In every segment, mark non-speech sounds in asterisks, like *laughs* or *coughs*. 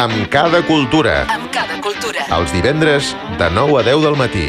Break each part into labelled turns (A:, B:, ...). A: Amb cada cultura.
B: Amb cada cultura.
A: Els divendres de 9 a 10 del matí.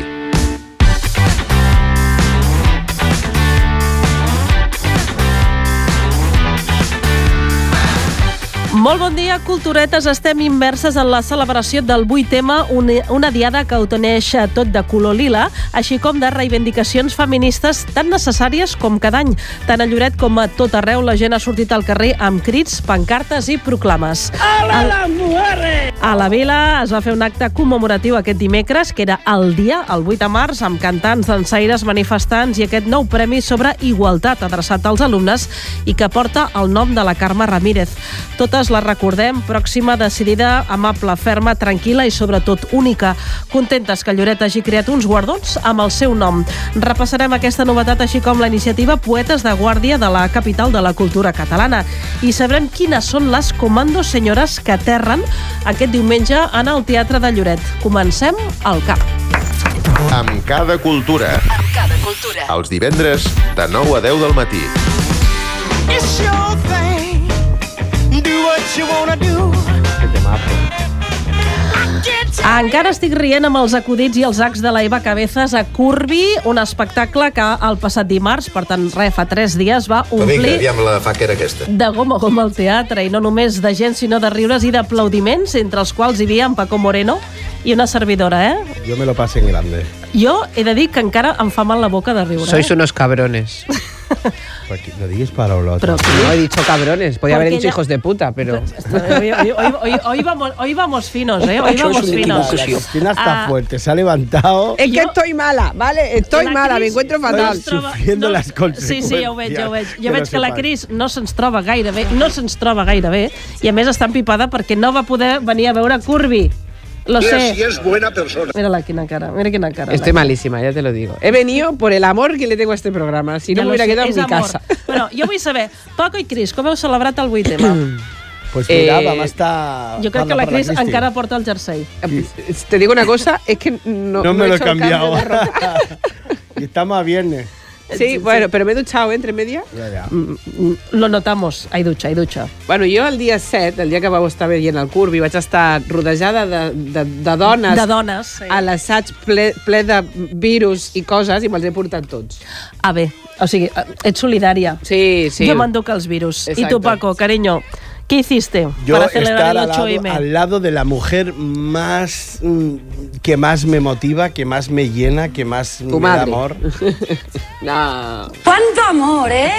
C: Molt bon dia, culturetes. Estem immerses en la celebració del 8M, una, una diada que autoneix tot de color lila, així com de reivindicacions feministes tan necessàries com cada any. Tant a Lloret com a tot arreu la gent ha sortit al carrer amb crits, pancartes i proclames.
D: ¡Hola las mujeres!
C: A la vila es va fer un acte commemoratiu aquest dimecres, que era el dia, el 8 de març, amb cantants, dansaires, manifestants i aquest nou premi sobre igualtat adreçat als alumnes i que porta el nom de la Carme Ramírez. Totes les recordem, pròxima, decidida, amable, ferma, tranquil·la i sobretot única. Contentes que Lloret hagi creat uns guardons amb el seu nom. Repassarem aquesta novetat així com la iniciativa Poetes de Guàrdia de la capital de la cultura catalana i sabrem quines són les comandos senyores que aterren aquest diumenge en el Teatre de Lloret. Comencem al cap.
A: Amb cada cultura.
B: Amb cada cultura.
A: Els divendres de 9 a 10 del matí.
D: It's your thing. Do what you wanna do.
C: Encara estic rient amb els acudits i els acs de la Eva Cabezas a Curbi, un espectacle que el passat dimarts, per tant, re, fa tres dies, va
E: Vinga,
A: eh,
C: omplir
E: aviam la faquera aquesta.
C: de gom a gom al teatre, i no només de gent, sinó de riures i d'aplaudiments, entre els quals hi havia en Paco Moreno i una servidora, eh?
F: Yo me lo pasé en grande.
C: Jo he de dir que encara em fa mal la boca de riure. eh?
G: Sois unos
F: *laughs*
G: cabrones.
F: Aquí, no digas palabras.
C: Però
G: No he dicho cabrones, podía haber
C: Porque
G: dicho
C: ya-
G: hijos de puta, pero...
C: Hoy, hoy- hoy- hoy- hoy vamos, hoy vamos finos, ¿eh? Hoy vamos finos.
F: Cristina
C: Ah,
F: está
C: eh,
F: fuerte, se ha levantado.
G: Es que
C: Yo-
G: estoy mala, ¿vale? Estoy
C: la
G: mala, me
C: Cris
G: encuentro
C: no
G: fatal.
C: ens troba-
F: Sufriendo las
C: Sí, sí, ja ho veig, ja ho veig. Jo
F: que
C: veig
F: no
C: que la
F: sepan.
C: Cris no se'ns troba gaire bé, no se'ns troba gaire bé, i a més està empipada perquè no va poder venir a veure Curbi. Lo sé.
H: Si es buena persona.
C: Mira-la quina cara, mira quina cara.
G: Estoy
C: la-
G: malísima, ya te lo digo. He venido por el amor que le tengo a este programa, si no
C: Ja
G: me
C: lo
G: hubiera
C: sé,
G: quedado en
C: és
G: mi
C: amor.
G: casa.
C: Bueno, jo vull saber, Paco i Cris, com heu celebrat el
G: *clears throat*
C: 8M?
F: Pues mira,
G: Eh,
F: vamos a estar...
C: jo crec que la Cris encara porta el jersey.
G: Te digo una cosa, es que no,
F: No
G: no
F: me lo he
G: hecho el cambio
F: cambiado.
G: de
F: *laughs*
G: ropa.
F: y estamos a viernes.
G: Sí, bueno, pero me he duchado ¿eh? entre media.
F: Ya, ya.
C: Mm, Lo notamos, hay ducha, hay ducha.
G: Bueno, jo el dia 7, el dia que vau estar veient el Curbi, vaig estar rodejada de, de, de dones,
C: De dones. Sí.
G: a l'assaig ple, ple de virus i coses i me'ls he portat tots.
C: Ah, bé. O sigui, ets solidària.
G: Sí, sí.
C: Yo mando que los virus. Y
G: Exacto.
C: tú, Paco, cariño, ¿qué hiciste
F: Yo
C: para celebrar
F: estar
C: el
F: al lado,
C: 8M?
F: al lado de la mujer más mm, que más me motiva, que más me llena, que más me
G: Tu
F: da
G: madre. *laughs*
F: amor.
G: No,
I: ¡Cuánto amor, eh!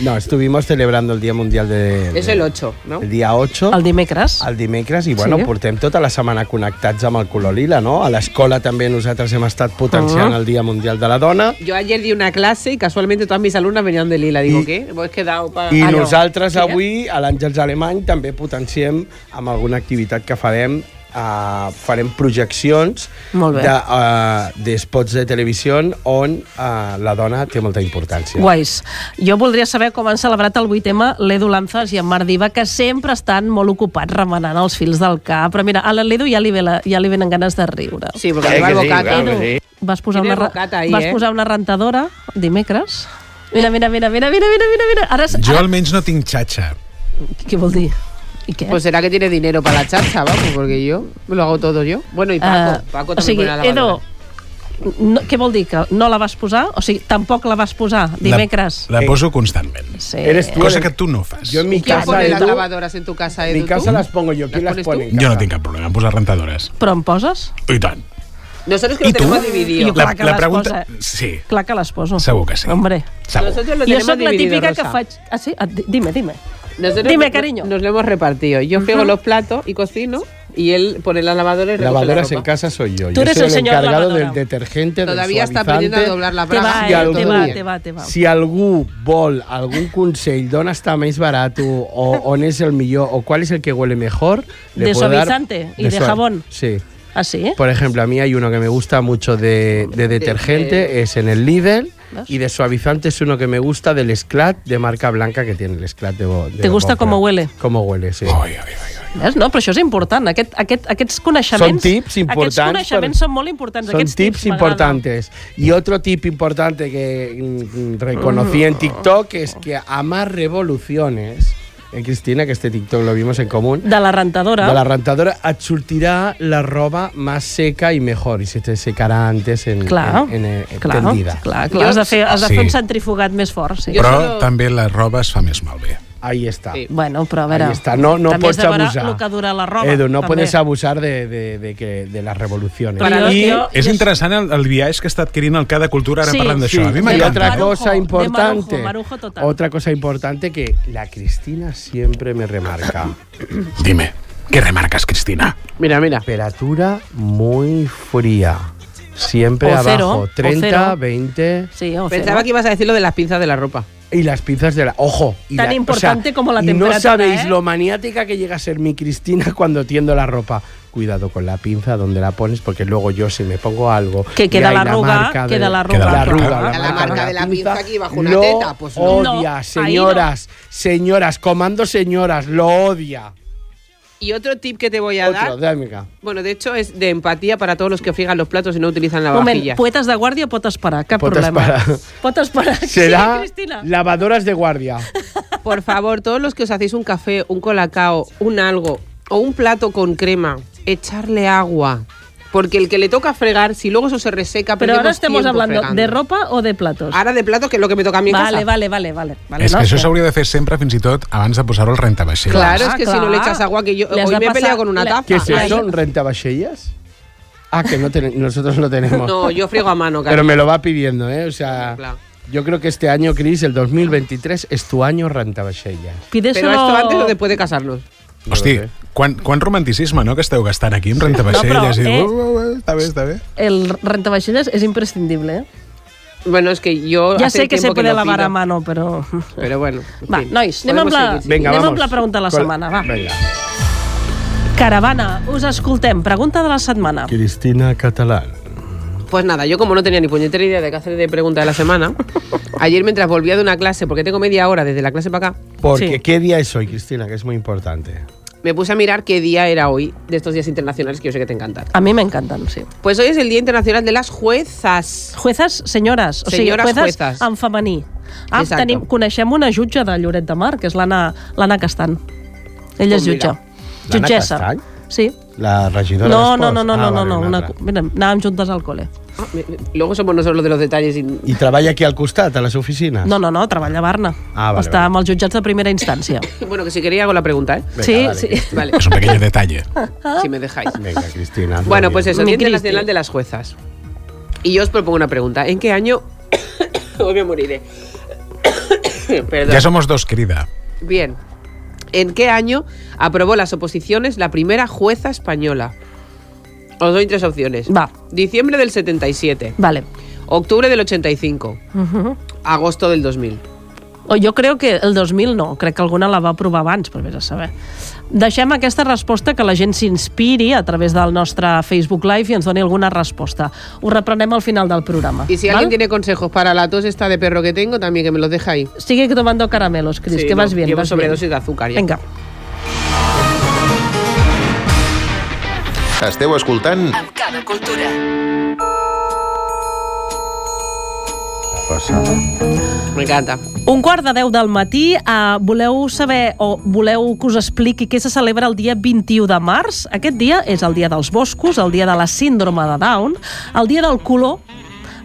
F: No, estuvimos celebrando el Día Mundial de...
G: és el 8, no?
F: El día 8.
C: El dimecres.
F: el dimecres i bueno,
C: Sí.
F: portem tota la setmana connectats amb el color lila, no? A l'escola també nosaltres hem estat potenciant
C: Mm.
F: el Dia Mundial de la Dona
G: Jo ayer di una clase y casualmente todas mis alumnas venían de lila. Digo, ¿qué? Pues Vos quedado para...
F: i
C: Ah, no.
F: nosaltres
C: Sí, eh?
F: avui a l'Àngels Alemany també potenciem amb alguna activitat que farem Uh, farem projeccions
C: Molt bé.
F: d'espots de, uh, spots de televisió on uh, la dona té molta importància.
C: Guais. Jo voldria saber com han celebrat el 8M l'Edu Lanzas i en Marc Diva, que sempre estan molt ocupats remenant els fils del cap. Però mira, a l'Edu ja, li ve la, ja li venen ganes de riure.
G: Sí, porque lleva el bocata.
C: Edu, vas posar,
G: Tiene
C: una, ra-
G: bocata ahí,
C: vas
G: eh?
C: posar una rentadora dimecres? Mira, mira, mira, mira, mira, mira, mira, mira. Ara, s-
J: Jo almenys no tinc xatxa.
C: què vol dir? I què?
G: Pues será que tiene dinero para la chacha, vamos, porque yo lo hago todo yo. Bueno, y Paco,
C: Eh,
G: Paco
C: o
G: también
C: sigui,
G: pone la
C: Edo,
G: lavadora.
C: no, què vol dir? Que no la vas posar? O sigui, tampoc la vas posar dimecres?
J: La, la poso constantment.
C: Sí.
F: Eres tu,
J: Cosa
F: eh?
J: que tu no fas.
F: Jo en mi
C: ¿Y quién
G: ¿Quién
F: casa,
G: pone las
F: Edu,
G: lavadoras en tu casa, Edu?
F: mi casa
G: tú?
F: las pongo yo, ¿quién las,
G: pones
F: pone? en
G: tú?
J: Jo no
F: casa?
J: tinc cap problema en posar rentadores.
C: Però em poses?
J: I tant.
G: Nosotros que lo
J: ¿Y tú?
G: tenemos dividido.
C: Jo- clar que les posa.
J: Sí,
C: Clar que les poso.
J: Segur que sí.
C: Hombre.
J: segur.
G: Nosotros lo
C: Jo
G: tenemos
C: sóc la
G: dividido,
C: típica que
G: Rosa.
C: faig... Ah, sí? Ah, di- dime, dime.
G: Nosotros
C: Dime,
G: no-
C: cariño.
G: Nos lo hemos repartido. Yo friego los platos y cocino y él pone las lavadoras y recoge
F: Lavadoras
G: la
F: en
G: ropa.
F: casa soy yo.
C: Tú eres
F: yo soy
C: el
F: el,
C: señor
F: encargado
C: lavadora.
F: del detergente,
G: Todavía
F: del
G: está
F: suavizante.
G: aprendiendo a doblar la
C: Te
G: braga.
C: va,
F: i
C: eh,
F: el
C: te
F: tu.
C: va,
F: Bien.
C: te va, te va.
F: Si algú vol algun consell d'on està més barat o on és el millor o qual és el que huele mejor... le
C: De
F: puedo dar-
C: suavizante y de
F: suavi-
C: jabón.
F: Sí.
C: Ah, sí?
F: Por ejemplo, a mí hay uno que me gusta mucho de, de detergente, es en el Lidl,
C: ¿Ves?
F: y de suavizante es uno que me gusta del Sclat, de marca blanca que tiene el Sclat de, Bo- de
C: ¿Te gusta
F: Bonfra.
C: cómo huele?
F: Cómo huele, sí.
J: Oi, oi, oi, oi.
C: Ves? No, però això és important. Aquest, aquest, aquests
F: Son
C: coneixements...
F: tips importantes.
C: Aquests coneixements són molt importants.
F: Son
C: aquests
F: tips, importantes. Y otro tip importante que mm, mm, reconocí en TikTok es que amar revoluciones eh, Cristina, que este TikTok lo vimos en común,
C: De la rentadora.
F: de la rentadora, et sortirà la roba más seca y mejor, y se te secará antes en,
C: Clar,
F: en- en- eh,
C: clar,
F: tendida.
C: clar, clar. Has de fer, has de
J: Sí.
C: fer un centrifugat més fort, sí.
J: Però
G: solo-
J: també la roba es fa més malbé.
F: Ahí está.
G: Sí.
C: Bueno, però a veure...
F: Ahí está. No, no
C: també has
F: pots
C: de veure
F: abusar.
C: el que dura la roba.
F: Edu, no
C: també.
F: puedes abusar de, de, de que, de las revoluciones.
C: Però
F: Y-
C: jo- jo-
J: És interessant el, el viatge que està adquirint el cada cultura, ara
C: Sí.
J: parlant
F: Sí,
J: d'això. A mi
F: y
C: m'encanta.
F: otra
J: m'encanta.
C: Marujo,
F: cosa
C: de
F: importante.
C: Marujo, Marujo total.
F: Otra cosa importante que la Cristina siempre
C: *clears throat*
F: me remarca.
J: Dime, què remarques, Cristina?
G: Mira, mira.
F: Temperatura muy fría. Siempre
C: O cero,
F: abajo.
C: o
F: 30,
C: cero.
F: 20.
C: Sí, o Eh,
G: Pensaba
C: fer,
G: que ibas a decir lo de las pinzas de la ropa.
F: Y las pinzas de la. Ojo.
C: Tan
F: y la- o sea,
C: importante como la
F: y
C: temperatura,
F: No sabéis
C: ¿eh?
F: lo maniática que llega a ser mi Cristina *laughs* cuando tiendo la ropa. Cuidado con la pinza donde la pones, porque luego yo, si me pongo algo.
C: Que
F: y
C: queda
F: hay
C: la arruga,
F: marca
C: queda la
J: arruga,
F: La arruga,
J: claro.
G: La marca de la pinza aquí bajo una
F: lo
G: teta, pues no.
F: Odia,
C: No,
F: señoras, señoras, comando señoras, lo odia.
G: Y otro tip que te voy a
F: Otro,
G: dar,
F: de amiga.
G: bueno, de hecho es de empatía para todos los que friegan los platos y no utilizan la
C: eh? Moment,
G: vajilla.
C: poetes de guàrdia pot esperar, cap
F: Pot
C: problema. ¿eh?
F: esperar.
C: Pot esperar. *laughs* Sí,
F: Pues Será
C: Cristina.
F: lavadoras de guardia.
G: Por favor, todos los que os hacéis un café, un colacao, un algo o un plato con crema, echarle agua. Porque el que le toca fregar, si luego eso se reseca,
C: Pero ahora
G: perdemos
C: estamos
G: tiempo
C: hablando
G: fregando.
C: de ropa o de platos.
G: Ahora de platos, que es lo que me toca a mí en
C: vale,
G: casa.
C: vale, vale, vale, vale.
J: És
C: no?
J: que això s'hauria de fer sempre, fins i tot, abans de posar-ho al rentavaixells.
G: Claro,
C: Ah,
G: es que si
C: claro.
G: no le echas agua, que yo
C: Le has
G: hoy
C: de
G: me he peleado
C: pasar-
G: con una
C: le-
G: taza.
F: ¿Qué es
C: Ah,
F: eso?
C: ahí-
F: ¿Rentabachellas? Ah, que no ten- nosotros no tenemos.
G: No, yo friego a mano,
F: Pero
G: cariño.
F: me lo va pidiendo, ¿eh? O sea,
G: Claro.
F: yo creo que este año, Cris, el 2023, es tu año rentabachellas.
G: Pero
C: Pídeselo...
G: esto antes o después de casarnos.
J: Hosti, quan, quan romanticisme, no?, que esteu gastant aquí amb
C: No,
J: rentavaixelles. i,
C: però, eh?
J: uh, uh, uh, està bé, està bé.
C: El rentavaixelles és imprescindible, eh?
G: Bueno, es que yo.
C: Ja
G: hace
C: sé que se
G: tiempo
C: puede
G: lo
C: lavar
G: pido,
C: a mano, però...
G: Pero bueno. en
C: Va,
G: fin,
C: nois, anem amb
G: podemos
C: la-
G: seguir.
C: Venga, Anem amb la pregunta de la
F: Con-
C: setmana, va.
F: Venga.
C: Caravana, us escoltem. Pregunta de la setmana.
F: Cristina Catalán.
G: Pues nada, yo como no tenía ni puñetera idea de qué hacer de pregunta de la
C: *laughs*
G: semana, ayer mientras volvía de una clase, porque tengo media hora desde la clase para acá,
F: Porque
C: Sí.
F: qué día es hoy, Cristina, que es muy importante.
G: me puse a mirar qué día era hoy de estos días internacionales que yo sé que te encantan.
C: A mi m'encanten, sí.
G: Pues hoy es el Día Internacional de las Juezas.
C: Juezas, senyores. O sigui,
G: Senyores
C: juezas,
G: juezas.
C: en femení. Ah,
G: Exacte.
C: tenim, coneixem una jutge de Lloret de Mar, que és l'Anna l'Anna Castan. Ella
G: Doncs Pues
C: és
G: mira.
C: jutge.
F: L'Anna
C: Jutgessa.
F: Castany?
C: Sí.
F: La regidora
C: No,
F: d'Esports?
C: no, no, no, no,
F: Ah,
C: no,
F: vale,
C: no.
F: una
C: Una,
F: altra.
C: mira, anàvem juntes al col·le.
G: Ah, me- me- Luego somos nosotros los de los detalles. y-
F: I treballa aquí al costat, a les oficines?
C: No, no, no, treballa a Barna.
F: Ah, vale,
C: Està
F: vale.
C: amb els jutjats de primera instància. *coughs*
G: Bueno, que si quería hago la pregunta, ¿eh?
F: Venga,
C: sí,
F: dale,
C: sí.
F: Cristina.
G: Vale,
J: És un pequeño detalle.
G: si me dejáis.
F: Venga, Cristina. hazlo
G: Bueno,
F: bien.
G: pues eso, Día
C: Mi Cristi.
G: Internacional de las Juezas. Y yo os propongo una pregunta. ¿En qué año... *coughs* Hoy me moriré. Perdón.
J: Ja somos dos, querida.
G: Bien. ¿En qué año aprobó las oposiciones la primera jueza española? Os doy tres opciones.
C: Va.
G: Diciembre del 77,
C: Vale.
G: octubre del 85,
C: Uh
G: agosto del 2000.
C: -huh. Jo crec que el 2000 no, crec que alguna la va aprovar abans, però vés a saber. Deixem aquesta resposta que la gent s'inspiri a través del nostre Facebook Live i ens doni alguna resposta. Ho reprenem al final del programa.
G: Y si
C: val?
G: alguien tiene consejos para la tos esta de perro que tengo, también que me los deja ahí.
C: Sigue tomando caramelos, Cris,
G: Sí,
C: que
G: no,
C: vas bien.
G: llevo
C: vas
G: sobredosis
C: bien.
G: de azúcar ya.
C: Vinga.
A: Esteu escoltant
B: Amb cada cultura.
G: Me encanta.
C: Un quart de 10 del matí, eh, voleu saber o voleu que us expliqui què se celebra el dia 21 de març? Aquest dia és el dia dels boscos, el dia de la síndrome de Down, el dia del color,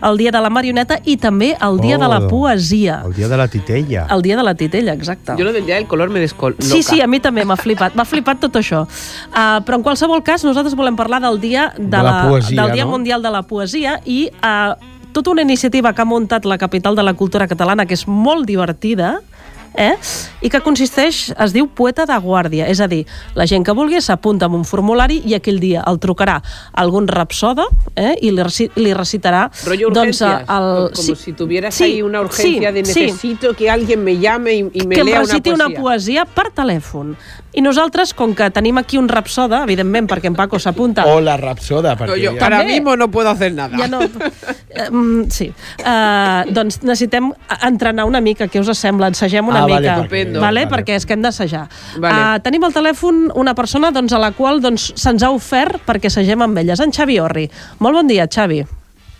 C: el dia de la marioneta i també el dia
F: Oh.
C: de la poesia.
F: El dia de la titella.
C: El dia de la titella, exacte.
G: Yo lo del día del color me descoloca.
C: Sí, sí, a mi també m'ha flipat, m'ha flipat tot això. Uh, però en qualsevol cas, nosaltres volem parlar del dia de,
F: De la poesia,
C: del Dia
F: no?
C: Mundial de la Poesia i uh, tota una iniciativa que ha muntat la capital de la cultura catalana que és molt divertida, eh? i que consisteix, es diu Poeta de Guàrdia, és a dir, la gent que vulgui s'apunta amb un formulari i aquell dia el trucarà algun rapsoda eh? i li, reci- li recitarà
G: Rollo
C: doncs,
G: urgencias.
C: el...
G: Como si tuvieras ahí una urgencia
C: sí,
G: de
C: sí
G: necesito que alguien me llame y, y me
C: que em
G: lea
C: reciti una
G: una
C: poesia. per telèfon. I nosaltres, com que tenim aquí un rapsoda, evidentment, perquè en Paco s'apunta...
F: O la rapsoda, perquè...
G: Yo
F: ja-
G: ahora
C: También.
G: mismo no puedo hacer nada.
C: Ja no... Eh, mm, sí. Uh, doncs necessitem entrenar una mica, què us sembla? Ensegem una
F: Ah, vale,
C: mica.
F: perquè-
C: vale,
F: vale.
C: perquè és que hem d'assajar.
G: Vale.
C: Eh, tenim al telèfon una persona doncs, a la qual doncs, se'ns ha ofert perquè assagem amb elles, en Xavi Orri. Molt bon dia, Xavi.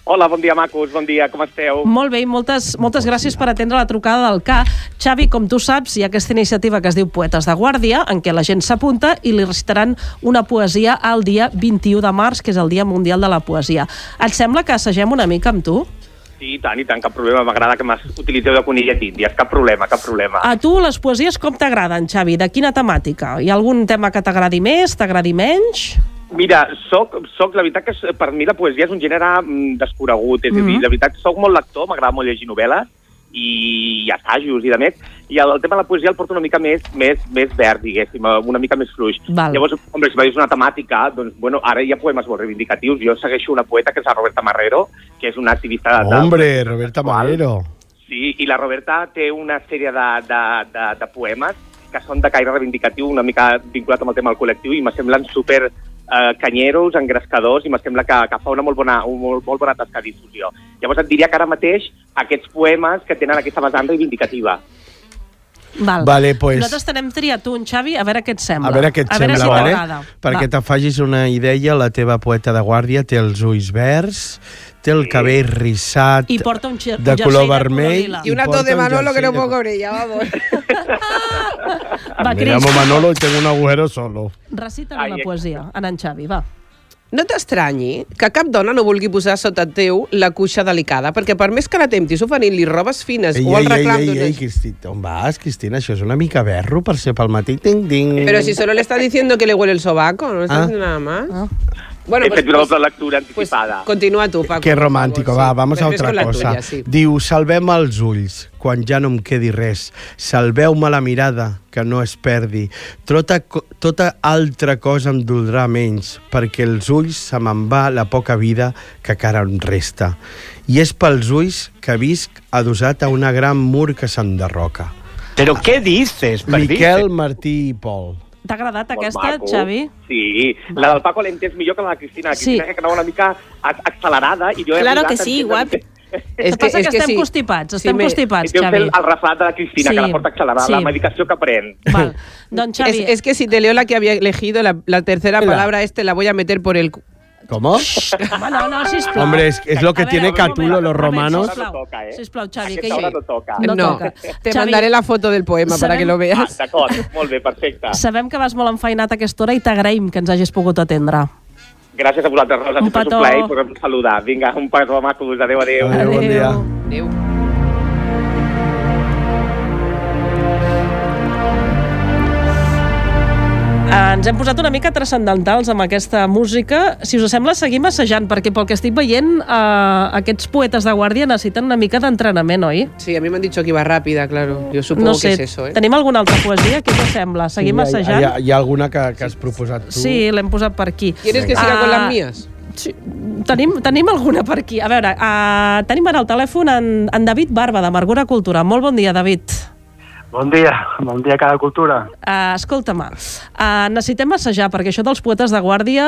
E: Hola, bon dia, macos, bon dia, com esteu?
C: Molt bé, i moltes, moltes gràcies per atendre la trucada del CA. Xavi, com tu saps, hi ha aquesta iniciativa que es diu Poetes de Guàrdia, en què la gent s'apunta i li recitaran una poesia al dia 21 de març, que és el Dia Mundial de la Poesia. Et sembla que assagem una mica amb tu?
E: Sí, i tant, i tant, cap problema, m'agrada que m'has- utilitzeu de conillet d'índies, cap problema, cap problema.
C: A Ah, tu les poesies com t'agraden, Xavi? De quina temàtica? Hi ha algun tema que t'agradi més, t'agradi menys?
E: Mira, soc, soc, la veritat que s- per mi la poesia és un gènere mm, desconegut, és mm -hmm. a dir, la veritat, soc molt lector, m'agrada molt llegir novel·les i, i assajos i de més, i el, el tema de la poesia el porto una mica més, més, més verd, diguéssim, eh, una mica més fluix.
C: Val.
E: Llavors, hombre, si veus una temàtica, doncs, bueno, ara hi ha poemes molt reivindicatius, jo segueixo una poeta que és la Roberta Marrero, que és una activista de...
F: Hombre, Roberta
E: Qual?
F: Manero.
E: Sí, i la Roberta té una sèrie de, de, de, de poemes que són de caire reivindicatiu, una mica vinculat amb el tema del col·lectiu, i me semblen super eh, canyeros, engrescadors, i me sembla que, que fa una molt bona, un, molt, molt bona tasca de difusió. Llavors et diria que ara mateix aquests poemes que tenen aquesta vessant reivindicativa.
C: Val.
F: Vale, pues-
C: Nosaltres t'anem triat un, Xavi, a veure què et sembla.
F: A veure què et
C: a veure
F: sembla,
C: si
F: vale?
C: t'agrada.
F: Perquè
C: Va.
F: te facis una idea, la teva poeta de guàrdia té els ulls verds, té el cabell rissat,
C: I porta un xer-
F: de
C: un jersei
F: color
C: de color
F: vermell...
C: lila.
G: Y una
F: porta
G: tos de
F: un
G: Manolo que no
F: jersei
G: puedo
F: de-
G: con ella, vamos.
C: *laughs* Va,
F: Me
C: Cris,
F: llamo Manolo y tengo un agujero solo.
C: recita
E: Ai,
C: una
E: eh.
C: poesia, en en Xavi, va.
G: No t'estranyi que cap dona no vulgui posar sota teu la cuixa delicada, perquè per més que la temptis oferint-li robes fines
F: Ei,
G: o el
F: ei, ei,
G: reclam
F: ei,
G: d'un...
F: ei, Cristina, on vas, Cristina? Això és una mica berro per ser pel matí. Ding, ding.
G: Pero si solo le estás diciendo que le huele el sobaco, no le estás
F: Ah.
G: diciendo nada más.
C: Ah.
G: Bueno,
E: He fet una doble lectura
G: pues
E: anticipada.
G: continúa tú, Paco.
F: Que
G: por favor,
F: romàntico,
G: sí.
F: va, vamos a
G: Després
F: otra
G: con la
F: cosa.
G: tuya, sí.
F: Diu, salvem els ulls, quan ja no em quedi res. Salveu-me la mirada, que no es perdi. Tota, co- tota altra cosa em doldrà menys, perquè els ulls se me'n va la poca vida que encara em resta. I és pels ulls que visc adossat a una gran mur que s'enderroca.
H: ¿Pero qué dices, perdices?
F: Miquel, Martí i Pol.
C: T'ha agradat
E: Molt
C: aquesta, Xavi?
E: Sí, la del Paco l'he entès millor que la de Cristina. La
C: Sí.
E: Cristina sí. que anava una mica ac- accelerada i jo... he
I: Claro que
E: arribat a
I: sí,
E: entendre
I: guap.
E: que-
C: És que, passa que, estem constipats, estem
G: me-
C: constipats,
E: Deu fer
C: Xavi.
E: el el reflat de la Cristina,
C: Sí.
E: sí. que la porta accelerada,
C: Sí.
E: sí. la medicació que
C: *laughs*
E: pren.
C: Val. Doncs,
G: Es,
C: Xavi,
G: es que si te leo la que había elegido, la, la tercera
F: Venga.
G: palabra, este la voy a meter por el... cu-
F: Com?
C: Home, Ah, no, no, sisplau.
F: Hombre, es- es lo que
C: A veure,
F: tiene
C: un moment,
F: Catulo, los
C: un moment,
F: romanos.
C: Sisplau,
E: Aquesta hora no toca, eh?
C: sisplau Xavi, que
E: Aquesta hora no
C: jo...
E: toca.
C: No toca.
G: te
C: Xavi-
G: mandaré la *laughs* foto del poema para
C: Sabem-
G: que lo
E: Ah,
G: veas.
E: D'acord, molt bé, perfecte.
C: Sabem que vas molt enfeinat a aquesta hora i t'agraïm que ens hagis pogut atendre.
E: Gràcies a vosaltres, Rosa.
C: Un
E: sempre és
C: petó.
E: un plaer poder-vos saludar. Vinga, un petó, macos. Adéu, adéu.
F: Adéu, bon dia.
C: Adéu.
G: Adéu.
C: Eh, ens hem posat una mica transcendentals amb aquesta música. Si us sembla, seguim assajant, perquè pel que estic veient, eh, aquests poetes de guàrdia necessiten una mica d'entrenament, oi?
G: Sí, a mí me han dicho que iba rápida, claro. Yo supongo
C: No sé,
G: que es eso, ¿eh?
C: tenim alguna altra poesia? Què us sembla? Seguim
F: Sí, hi ha-
C: assajant?
F: Hi ha, hi ha alguna que, que has proposat tu?
C: Sí, l'hem posat per aquí.
G: ¿Quieres que siga con
C: Ah,
G: las mías?
C: Sí, tenim, tenim alguna per aquí. A veure, uh, tenim ara al telèfon en, en David Barba, de Margura Cultura. Molt bon dia, David.
H: Bon dia, bon dia a cada cultura.
C: Uh, Escolta'm, uh, necessitem assajar, perquè això dels poetes de guàrdia,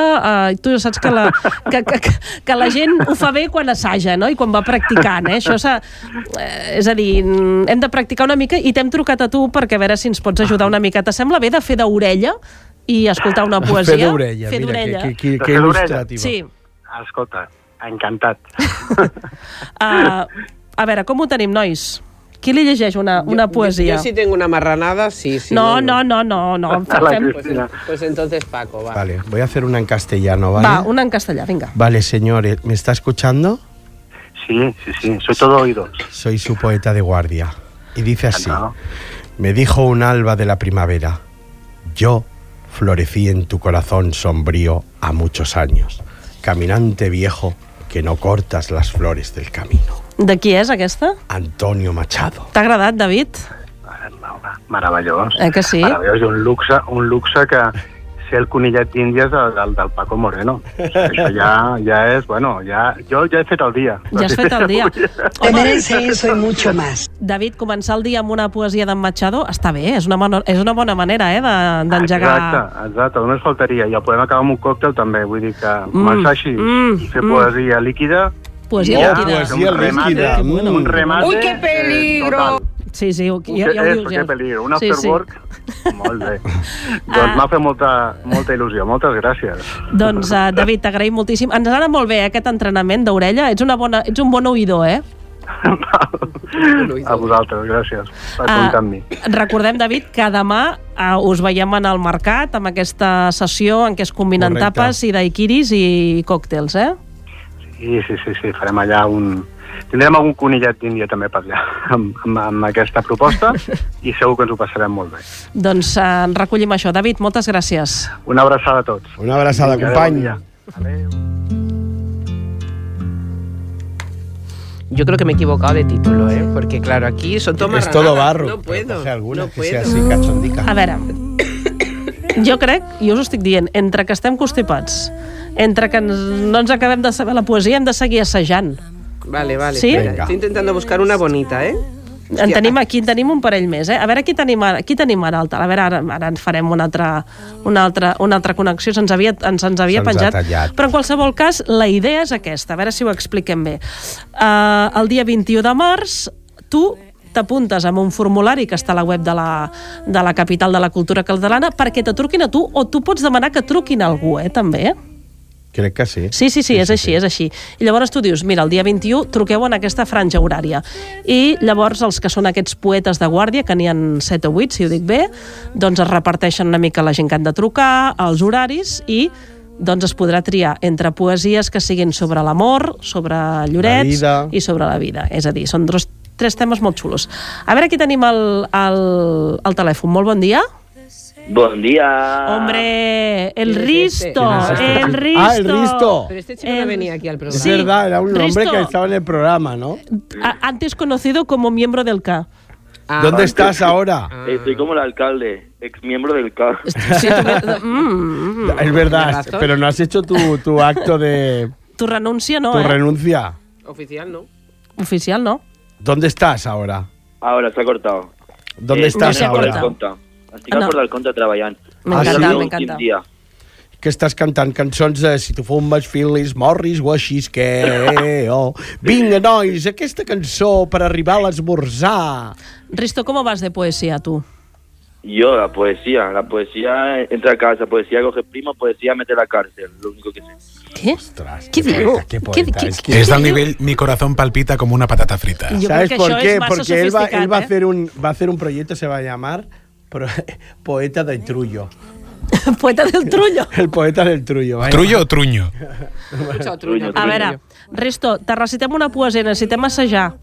C: uh, tu ja saps que la, que, que, que- que la gent ho fa bé quan assaja, no?, i quan va practicant, eh? Això s'ha- eh, és a dir, mm, hem de practicar una mica i t'hem trucat a tu perquè a veure si ens pots ajudar una mica. T'assembla bé de fer d'orella i escoltar una poesia?
F: Fer d'orella,
C: Fer
F: mira,
C: d'orella.
F: que, que, que, que
H: Fer d'orella.
F: il·lustrativa.
C: Sí.
H: Ah, Escolta, encantat.
C: Uh, a veure, com ho tenim, nois? Qui li llegeix una, una poesia?
G: Yo, sí tengo una marranada, sí, sí.
C: No, no, no, no, no.
H: A la
C: Fem...
G: Pues, en- pues entonces Paco, va.
F: Vale, voy a hacer una en castellano, ¿vale?
C: Va, una en castellà, vinga.
F: Vale, señores, ¿me está escuchando?
H: Sí, sí, sí, soy todo oídos.
F: Soy su poeta de guardia. Y dice así,
H: Encantado.
F: me dijo un alba de la primavera, yo florecí en tu corazón sombrío a muchos años, caminante viejo que no cortas las flores del camino.
C: De qui és aquesta?
F: Antonio Machado.
C: T'ha agradat, David?
H: Meravellós.
C: Eh que sí?
H: Meravellós, i un luxe, un luxe que ser el conillet d'índies del, del, del Paco Moreno.
C: *laughs*
H: Això ja, ja és, bueno, ja, jo ja he fet el dia.
C: Ja has fet el
H: *laughs*
C: dia. Home,
K: Merece eso y mucho más.
C: David, començar el dia amb una poesia d'en Machado està bé, és una, mano- és una bona manera eh, de- d'engegar...
H: Exacte, exacte, només faltaria. I el podem acabar amb un còctel també, vull dir que començar així,
C: mm,
H: fer
C: mm.
H: poesia líquida,
C: poesia
H: Ja,
C: líquida.
H: poesia
F: líquida.
H: un remate... remate
F: Uy,
G: qué
H: eh,
G: peligro.
H: total.
C: Sí, sí, ho- ja,
H: Què
C: ja ho
H: és?
C: dius ja.
H: Que peligro. Un
C: Sí, sí.
H: afterwork? Molt bé. *laughs*
C: Ah.
H: doncs m'ha fet molta, molta il·lusió. Moltes gràcies.
C: Doncs, uh, David, t'agraïm moltíssim. Ens ha anat molt bé eh, aquest entrenament d'orella. Ets, una bona, ets un bon oïdor, eh?
H: a vosaltres, gràcies per
C: Ah,
H: comptar amb mi.
C: Recordem, David, que demà uh, us veiem en el mercat amb aquesta sessió en què es combinen
F: Correcte.
C: tapes i daiquiris i còctels, eh?
H: Sí, sí, sí, sí, farem allà un... Tindrem algun conillet d'Índia també per allà, *laughs* amb, amb, amb aquesta proposta, i segur que ens ho passarem molt bé.
C: Doncs uh, en recollim això. David, moltes gràcies.
H: Una abraçada a tots.
F: Una abraçada,
H: Adéu, bon
F: company.
H: dia. Adéu.
G: Yo creo que me he equivocado de título, ¿eh? Porque claro, aquí son tomas
F: Es todo barro.
G: No
F: pero
G: puedo.
F: coge alguna
G: no
F: que sea
G: puedo.
F: así, cachondica.
C: A veure, jo crec, i us ho estic dient, entre que estem constipats, entre que ens, no ens acabem de saber la poesia, hem de seguir assajant.
G: Vale, vale.
C: ¿Sí?
G: espera,
F: Venga.
G: Estoy intentando buscar una bonita, ¿eh?
C: En tenim aquí, en tenim un parell més, eh? A veure qui tenim ara, qui tenim ara al tal. A veure, ara, ara ens farem una altra, una altra, una altra connexió, se'ns havia, ens, ens havia
F: Se'ns ha
C: penjat.
F: tallat.
C: Però en qualsevol cas, la idea és aquesta, a veure si ho expliquem bé. Uh, el dia 21 de març, tu t'apuntes amb un formulari que està a la web de la, de la capital de la cultura catalana perquè te truquin a tu o tu pots demanar que truquin a algú, eh, també. Eh?
F: Crec que sí.
C: Sí, sí, sí, és així, és així. I llavors tu dius, mira, el dia 21 truqueu en aquesta franja horària. I llavors els que són aquests poetes de guàrdia, que n'hi han 7 o 8, si ho dic bé, doncs es reparteixen una mica la gent que han de trucar, els horaris i doncs es podrà triar entre poesies que siguin sobre l'amor, sobre Llorets
F: vida.
C: i sobre la vida. És a dir, són dos, tres temes molt xulos. A veure, aquí tenim el, el, el telèfon. Molt bon dia.
I: Bon dia.
C: Hombre, Eh, el
G: ¿Quién es este?
C: Risto,
G: ¿Quién es este?
C: el Risto.
F: Ah, el Risto.
G: Pero este chico no
C: El-
G: venía aquí al programa.
F: Es
C: Sí,
F: verdad, era un hombre
C: Risto.
F: que estaba en el programa, ¿no?
C: A- antes conocido como miembro del K.
G: Ah,
F: ¿Dónde estás ahora?
I: Ah. Estoy como el alcalde, ex miembro del CA. *laughs*
C: Sí,
G: Ah.
C: tu, *laughs* mm, mm.
F: Es verdad,
G: Razón.
F: pero no has hecho tu, tu acto de
C: tu renuncia no,
F: tu
C: eh?
F: renuncia.
G: Oficial, ¿no?
C: Oficial no.
F: ¿Dónde estás ahora?
I: Ahora se ha cortado. Eh,
F: ¿Dónde estás
C: se ha
F: ahora?
C: cortado.
I: Compte. Estic no. al
C: Ah, no.
I: Port del Compte treballant.
K: ¿Ah,
C: M'encanta,
I: Ha sigut
C: m'encanta.
I: l'últim dia.
F: Que estàs cantant cançons de Si tu fumes, Phyllis, Morris o així és que... Oh. Vinga, nois, aquesta cançó per arribar a l'esmorzar.
C: Risto, ¿cómo vas de poesía tú?
I: Yo, la poesía. La poesía entra a casa, poesía coge primo, poesía mete a la cárcel. Lo único que sé.
C: ¿Qué?
F: Ostras,
C: ¿Qué digo?
F: poeta, qué
C: ¿Qué-
F: poeta.
C: qué-
F: Es que-
J: Es del nivel Mi corazón palpita como una patata frita.
C: Yo creo
F: ¿Sabes
C: que
F: por
C: això
F: qué?
C: es massa
F: Porque él, va, él va, a
C: sofisticat, eh?
F: hacer un, va a hacer un proyecto, se va a llamar Pro- Poeta del Trullo.
C: eh? *laughs* Poeta del trullo.
F: El poeta del Trullo. vaya.
J: ¿Trullo o truño?
G: Escucha, truño,
I: A
C: A
G: truño.
C: veure, Risto, te recitem una poesia, necessitem assajar.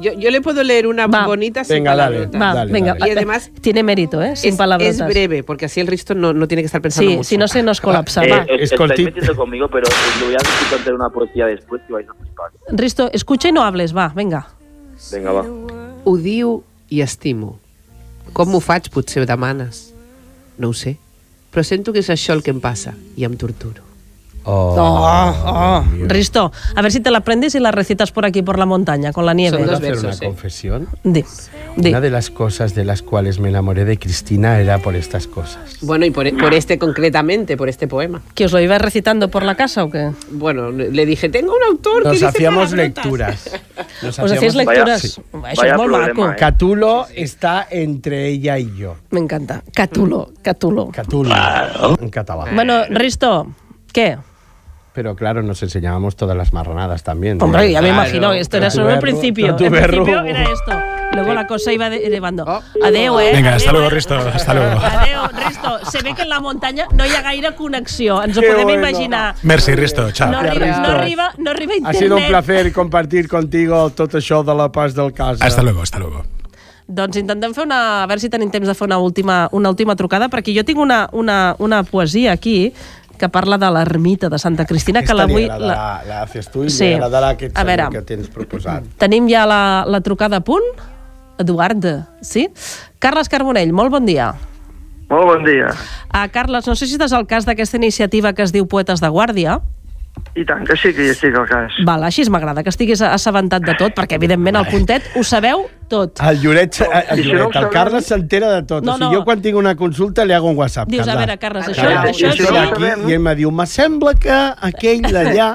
G: Yo, yo le puedo leer una
C: Va.
G: bonita sin
F: Venga, dale.
G: palabrotas.
C: Va,
F: Dale,
C: vinga.
F: dale.
G: I, además,
C: Tiene mérito, eh? Sin
G: Es,
C: palabrotas.
G: es breve, porque así el Risto no, no tiene que estar pensando
C: Sí,
G: mucho.
C: si no se
F: *laughs*
C: nos colapsa.
I: Eh,
C: Va.
I: os-
F: es
I: os estáis
F: cortito.
I: metiendo conmigo, pero os lo voy a decir contar una poesía después que vais a flipar.
C: Risto, escucha y no hables, va, venga.
I: Venga, va.
G: Ho diu i estimo. Com m'ho faig, potser demanes. No ho sé, però sento que és això el que em passa i em torturo.
F: Ah.
C: Oh, oh. Risto, a ver si te la aprendes y la recitas por aquí, por la montaña, con la nieve.
G: Son
F: ¿Puedo
G: dos
F: hacer una
G: versos, eh.
F: confesión?
C: Di, di.
F: Una de las cosas de las cuales me enamoré de Cristina era por estas cosas.
G: Bueno, y por, por este concretamente, por este poema.
C: ¿Que os lo ibas recitando por la casa o qué?
G: Bueno, le dije, tengo un autor que
F: Nos
G: dice
F: hacíamos
G: palabrotas".
F: lecturas.
C: *laughs*
F: Nos
C: Os hacéis
I: Vaya-
C: lecturas.
I: sí.
C: Això
I: Vaya
C: és molt
I: problema,
C: maco.
I: eh?
F: Catulo está entre ella y yo.
C: M'encanta. Catulo, Catulo.
F: Catulo, en catalán.
C: Bueno, Risto, ¿qué?
F: Pero claro, nos enseñábamos todas las marranadas también.
C: Hombre, ya me
G: Claro.
C: imagino, esto era solo el
F: Tatuberro,
C: principio. El
F: tatuberro.
C: principio era esto. Luego la cosa iba de- elevando.
G: Oh.
C: Adeu, eh?
J: Vinga, hasta
C: Adeu,
J: luego,
C: eh?
J: Risto, hasta luego.
C: Adeu, Risto. Se ve que en la muntanya no hi ha gaire connexió. Ens ho
F: Que
C: podem
F: bueno.
C: imaginar.
J: Merci, Risto, chao.
C: No arriba,
F: Risto.
C: no arriba, no arriba
F: Ha
C: internet.
F: sido un placer compartir contigo tot això de la paz del cas.
J: Hasta luego, hasta luego.
C: Doncs intentem fer una... A veure si tenim temps de fer una última, una última trucada, perquè jo tinc una, una, una poesia aquí que parla de l'ermita de Santa Cristina, que
F: Aquesta li
C: l'avui...
F: agradarà, la... la haces tu i
C: Sí.
F: sí. li agradarà aquest
C: A veure.
F: senyor que tens proposat.
C: Tenim ja la, la trucada a punt. Eduard, sí? Carles Carbonell, molt bon dia.
H: Molt bon dia.
C: Uh, Carles, no sé si estàs al cas d'aquesta iniciativa que es diu Poetes de Guàrdia.
H: I tant, que sí que hi estic al cas.
C: Val, així es m'agrada, que estiguis assabentat de tot, perquè evidentment al puntet ho sabeu tot.
F: *laughs* El Lloret, el,
H: I si no ho
F: Lloret, el
H: sabeu-
F: Carles s'entera de tot.
C: No,
F: No, no. O
C: no.
F: sigui, jo quan tinc una consulta li hago un WhatsApp.
C: Dius, a
F: Carles.
C: veure, Carles, això,
F: Carles,
C: això
F: jo
H: i si no
C: és...
F: estic
H: ho
F: aquí
H: sabem-
C: *laughs*
F: I ell me diu, me sembla que aquell d'allà...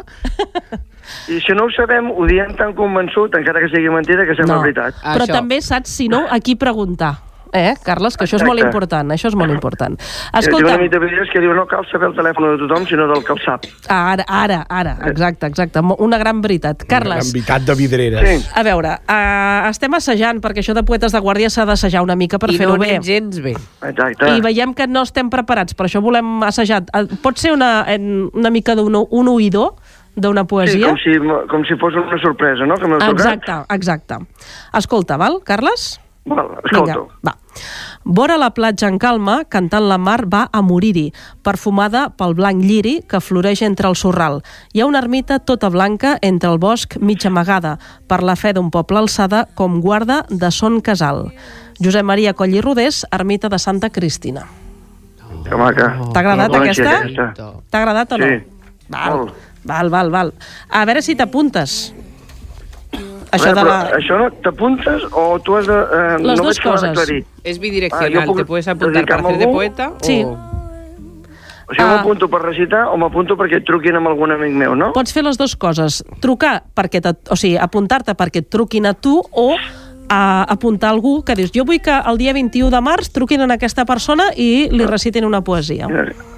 K: I si no ho sabem, ho diem tan convençut, encara que sigui mentida, que sembla
C: No.
K: veritat.
C: Però també saps, si no, a qui preguntar. Eh, Carles, que això és molt
K: Exacte.
C: important, això és molt important.
K: Hi ha
C: Escolta,
K: una mica de videos que diu no cal saber el telèfon de tothom, sinó del que el sap.
C: ara, ara, ara, exacte, exacte, mo- Eh. una gran veritat. Carles,
F: Envitat de vidreres.
K: Sí.
C: A veure, uh, estem assajant, perquè això de poetes de guàrdia s'ha d'assajar una mica per
G: I
C: fer-ho
G: no
C: bé.
G: anem gens bé.
K: Exacte.
C: I veiem que no estem preparats, per això volem assajar. Eh, Pot ser una, en- una mica d'un o- un oïdor d'una
K: Sí,
C: poesia?
K: com si, com si fos una sorpresa, no? Que m'heu tocat.
C: Exacte, exacte. Escolta, val, Carles?
K: Val, escolto.
C: Vinga, va. Vora la platja en calma, cantant la mar va a morir-hi, perfumada pel blanc lliri que floreix entre el sorral. Hi ha una ermita tota blanca entre el bosc mig amagada, per la fe d'un poble alçada com guarda de son casal. Josep Maria Coll i Rodés, ermita de Santa Cristina.
K: Que maca.
C: T'ha agradat
K: Bona
C: aquesta?
K: xica, aquesta.
C: T'ha agradat o no?
K: Sí.
C: Val,
K: Molt.
C: val, val, val. A veure si t'apuntes. Això
K: Ara,
C: de la...
K: però Això no t'apuntes o tu has de... Eh,
C: Les
K: només
C: dues
K: t'ho has
C: coses.
K: d'aclarir?
G: Es bidireccional,
K: Ah, jo puc
G: te puedes apuntar
K: dedicar-me
G: para hacer de
K: a algú?
G: poeta
C: Sí.
G: o...
K: O sigui,
C: Ah.
K: m'apunto per recitar o m'apunto perquè et truquin amb algun amic meu, no?
C: Pots fer les dues coses, trucar perquè te, o sigui, apuntar-te perquè et truquin a tu o a apuntar a algú que dius jo vull que el dia 21 de març truquin a aquesta persona i li recitin una poesia.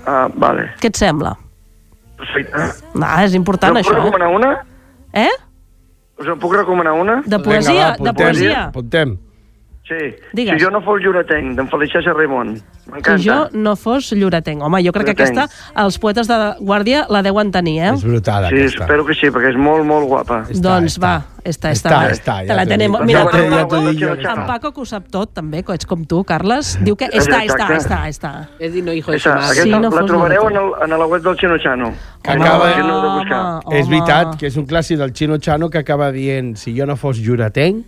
K: Ah, vale.
C: Què et sembla?
K: Perfecte.
C: No, és important
K: Us en puc
C: això.
K: recomanar una?
C: Eh?
K: Us en puc recomanar una?
C: De poesia,
F: Vinga, va,
C: de poesia.
F: Apuntem.
K: Sí.
C: Digues.
K: Si jo no fos lloretenc, d'en Felicià Serraimon. M'encanta.
C: Si jo no fos lloretenc. Home, jo crec que aquesta
K: Lloretenc.
C: els poetes de Guàrdia la deuen tenir, eh?
F: És brutal,
K: Sí,
F: aquesta.
K: espero que sí, perquè és molt, molt guapa.
C: doncs va, està, està.
F: Està,
C: va.
F: està, ja
C: Te la
F: t'ho
C: tenem.
F: dic.
C: Mira,
F: Ja t'ho- ja
K: t'ho dic jo,
C: en
K: Carles.
C: Paco, que ho sap tot, també, que ets com tu, Carles, diu que està, està,
K: Exacte.
C: està, està.
G: Es decir, no, hijo de su
K: Aquesta,
G: madre.
K: aquesta
C: Sí, no
K: la
C: fos
K: trobareu en,
C: lloretenc.
K: el, en la web del Xino Chano.
F: Que
K: Si no,
F: acaba-
K: la gent heu de buscar.
C: Home.
F: És veritat que és un clàssic del Chino Chano que acaba dient si jo no fos lloretenc,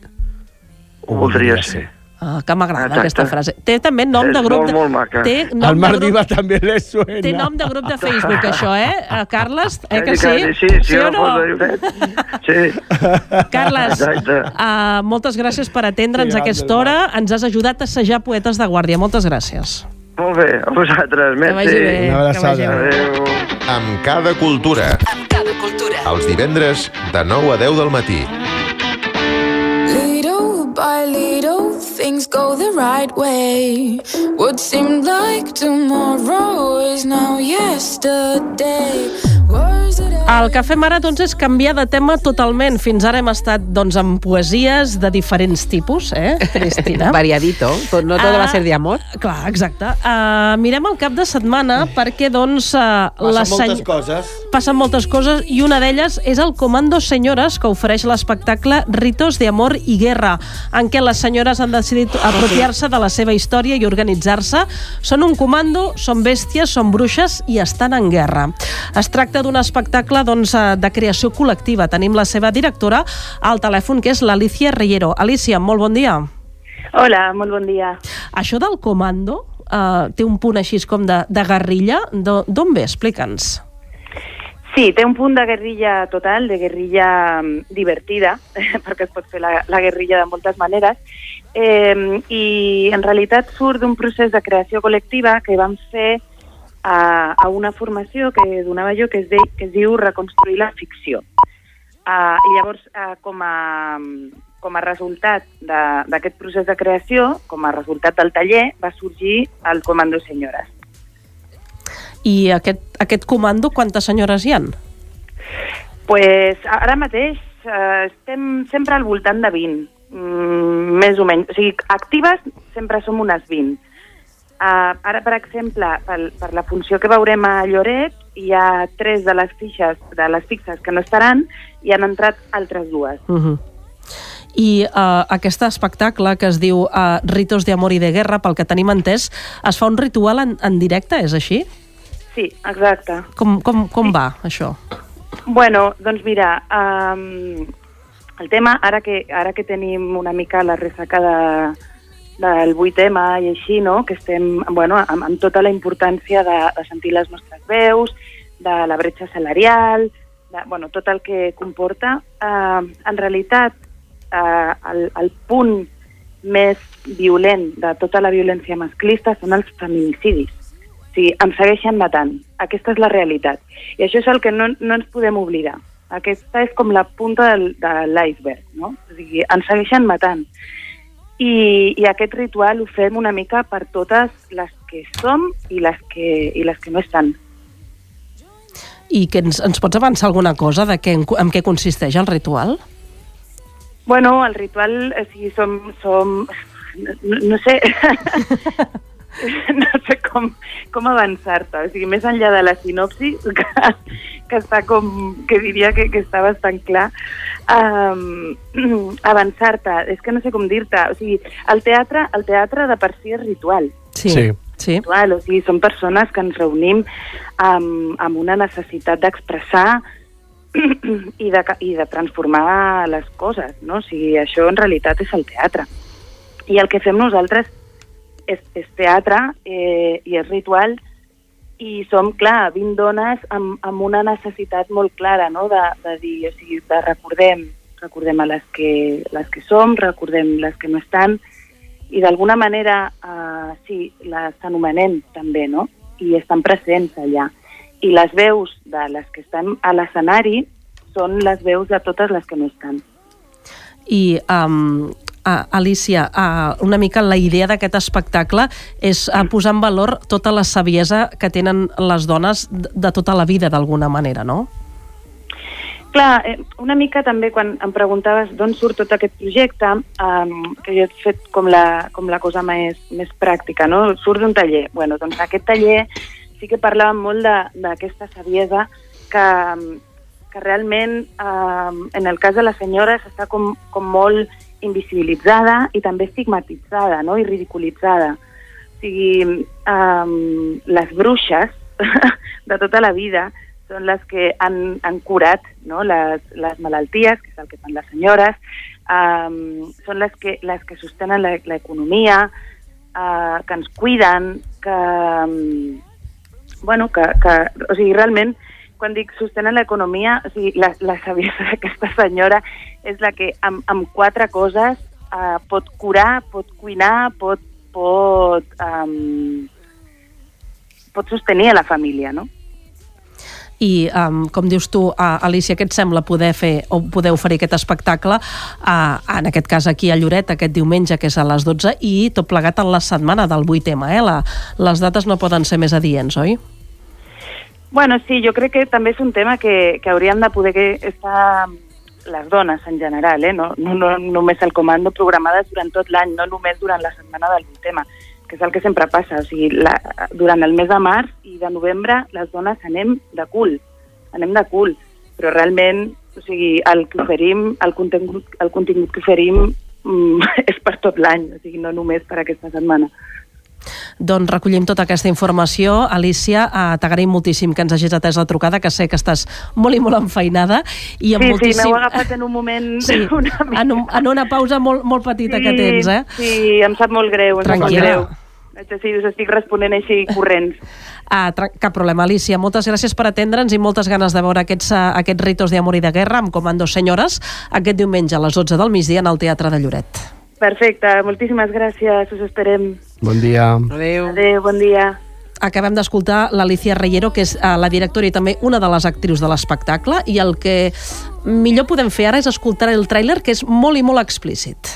K: Ho voldria ser.
C: Ah, que m'agrada
K: Exacte.
C: aquesta frase. Té també nom
K: És
C: de grup...
K: molt,
C: de-
K: molt maca.
C: Té
F: No, el
C: nom,
F: Mar
C: de
F: Diva
C: grup...
F: també li suena.
C: Té nom de grup de Facebook, això, eh? Eh, Carles, eh que sí?
K: Quasi, Sí, sí,
C: o
K: no fos de lloret. Sí.
C: Carles,
K: Exacte.
C: uh, moltes gràcies per atendre'ns
F: Sí,
C: a aquesta
F: Andrés,
C: hora. Ens has ajudat a assajar Poetes de Guàrdia. Moltes gràcies.
K: Molt bé, a
C: Que
K: vosaltres.
C: vagi
K: merci.
C: bé.
F: Una abraçada.
K: Adéu.
A: Amb cada cultura.
B: Amb cada cultura.
A: Els divendres de 9 a 10 del matí.
L: Little by little, things go the right way. What seemed like tomorrow is now yesterday. Words that I
C: El que fem ara doncs, és canviar de tema totalment. Fins ara hem estat doncs, amb poesies de diferents tipus,
G: *laughs*
C: eh, Cristina?
G: Variadito, pues no todo
C: Ah,
G: va a ser de amor.
C: Clar, exacte. Uh, mirem el cap de setmana perquè, doncs... Uh,
F: Passen moltes coses.
C: Passen moltes coses i una d'elles és el Comando Senyores que ofereix l'espectacle Ritos de Amor i Guerra, en què les senyores han decidit apropiar-se de la seva història i organitzar-se. Són un comando, són bèsties, són bruixes i estan en guerra. Es tracta d'un espectacle doncs, eh, de creació col·lectiva. Tenim la seva directora al telèfon, que és l'Alicia Reyero. Alicia, molt bon dia.
M: Hola, molt bon dia.
C: Això del comando eh, té un punt així com de, de guerrilla. D'o- D'on ve? Explica'ns.
M: Sí, té un punt de guerrilla total, de guerrilla mm, divertida, *laughs* perquè es pot fer la, la guerrilla de moltes maneres, eh, i en realitat surt d'un procés de creació col·lectiva que vam fer a, a una formació que donava jo que es, de, que es diu Reconstruir la ficció. Uh, I llavors, uh, com, a, com a resultat de- d'aquest procés de creació, com a resultat del taller, va sorgir el Comando Senyores.
C: I aquest, aquest comando, quantes senyores hi han?
M: Pues ara mateix eh, estem sempre al voltant de 20, mm, més o menys. O sigui, actives sempre som unes 20. Uh, ara, per exemple, pel, per la funció que veurem a Lloret, hi ha tres de les fixes, de les fixes que no estaran i han entrat altres dues.
C: Uh -huh. I uh, aquest espectacle que es diu uh, Ritos de Amor i de Guerra, pel que tenim entès, es fa un ritual en, en directe, és així?
M: Sí, exacte.
C: Com, com, com va, això?
M: Bueno, doncs mira, um, el tema, ara que, ara que tenim una mica la ressaca de, del 8M i així, no? que estem bueno, amb, amb tota la importància de, de sentir les nostres veus, de la bretxa salarial, de, bueno, tot el que comporta, uh, en realitat uh, el, el punt més violent de tota la violència masclista són els feminicidis. O sigui, em segueixen matant. Aquesta és la realitat. I això és el que no, no ens podem oblidar. Aquesta és com la punta del, de l'iceberg, no? O sigui, ens segueixen matant. I, I aquest ritual ho fem una mica per totes les que som i les que, i les que no estan.
C: I que ens, ens pots avançar alguna cosa de què, en, en què consisteix el ritual?
M: Bueno, el ritual, eh, o sigui, som... som no, no sé... *laughs* no sé com, com avançar-te. O sigui, més enllà de la sinopsi, que, *laughs* que està com... que diria que, que està bastant clar, um, *clears throat* avançar-te. És que no sé com dir-te. O sigui, el teatre, el teatre de per si és ritual.
C: Sí. sí. Sí.
M: Ritual, o sigui, són persones que ens reunim amb, amb una necessitat d'expressar *clears throat* i de, ca- i de transformar les coses, no? O sigui, això en realitat és el teatre. I el que fem nosaltres és, és teatre eh, i és ritual i som, clar, 20 dones amb, amb una necessitat molt clara, no?, de, de dir, o sigui, de recordem, recordem a les que, les que som, recordem les que no estan i d'alguna manera, eh, sí, les anomenem també, no?, i estan presents allà. I les veus de les que estan a l'escenari són les veus de totes les que no estan.
C: I um, a, Alicia, a, una mica la idea d'aquest espectacle és a, posar en valor tota la saviesa que tenen les dones de, de tota la vida, d'alguna manera, no?
M: Clar, eh, una mica també quan em preguntaves d'on surt tot aquest projecte, um, que jo he fet com la, com la cosa més, més pràctica, no? Surt d'un taller. bueno, doncs aquest taller sí que parlàvem molt de- d'aquesta saviesa que, mm, que realment eh, en el cas de les senyores està com, com molt invisibilitzada i també estigmatitzada no? i ridiculitzada. O sigui, eh, les bruixes *laughs* de tota la vida són les que han, han curat no? les, les malalties, que és el que fan les senyores, um, són les que, les que sostenen la- l'economia, uh, que ens cuiden, que... mm, bueno, que, que, o sigui, realment, quan dic sostenen l'economia, o sigui, la, la saviesa d'aquesta senyora és la que amb, amb quatre coses uh, pot curar, pot cuinar, pot, pot, um, pot sostenir a la família, no?
C: I, um, com dius tu, a, Alicia, què et sembla poder fer o poder oferir aquest espectacle, a, en aquest cas aquí a Lloret, aquest diumenge, que és a les 12, i tot plegat en la setmana del 8M, eh? La, les dates no poden ser més adients, oi?
M: Bueno, sí, jo crec que també és un tema que, que hauríem de poder que estar les dones en general, eh? no, no, no només el comando programades durant tot l'any, no només durant la setmana del tema, que és el que sempre passa. O sigui, la, durant el mes de març i de novembre les dones anem de cul, anem de cul, però realment o sigui, el que oferim, el contingut, el contingut que oferim mm, *laughs* és per tot l'any, o sigui, no només per aquesta setmana.
C: Doncs recollim tota aquesta informació. Alicia, eh, t'agraïm moltíssim que ens hagis atès la trucada, que sé que estàs molt i molt enfeinada. I amb
M: sí,
C: moltíssim...
M: sí, m'heu agafat en un moment... *laughs*
C: Sí, *laughs* en, un, en una pausa molt, molt petita que tens, eh?
M: Mm, Sí, em sap molt greu, em sap molt
C: Tranquil·la.
M: greu. Això sí, us estic responent així corrents.
C: Ah, tra- cap problema, Alicia. Moltes gràcies per atendre'ns i moltes ganes de veure aquests, eh, aquests ritos d'amor i de guerra amb Comando Senyores aquest diumenge a les 12 del migdia en el Teatre de Lloret.
M: Perfecte, moltíssimes gràcies, us esperem.
F: Bon dia.
G: Adéu.
M: Adéu, bon dia.
C: Acabem d'escoltar l'Alicia Reyero, que és eh, la directora i també una de les actrius de l'espectacle, i el que millor podem fer ara és escoltar el tràiler, que és molt i molt explícit.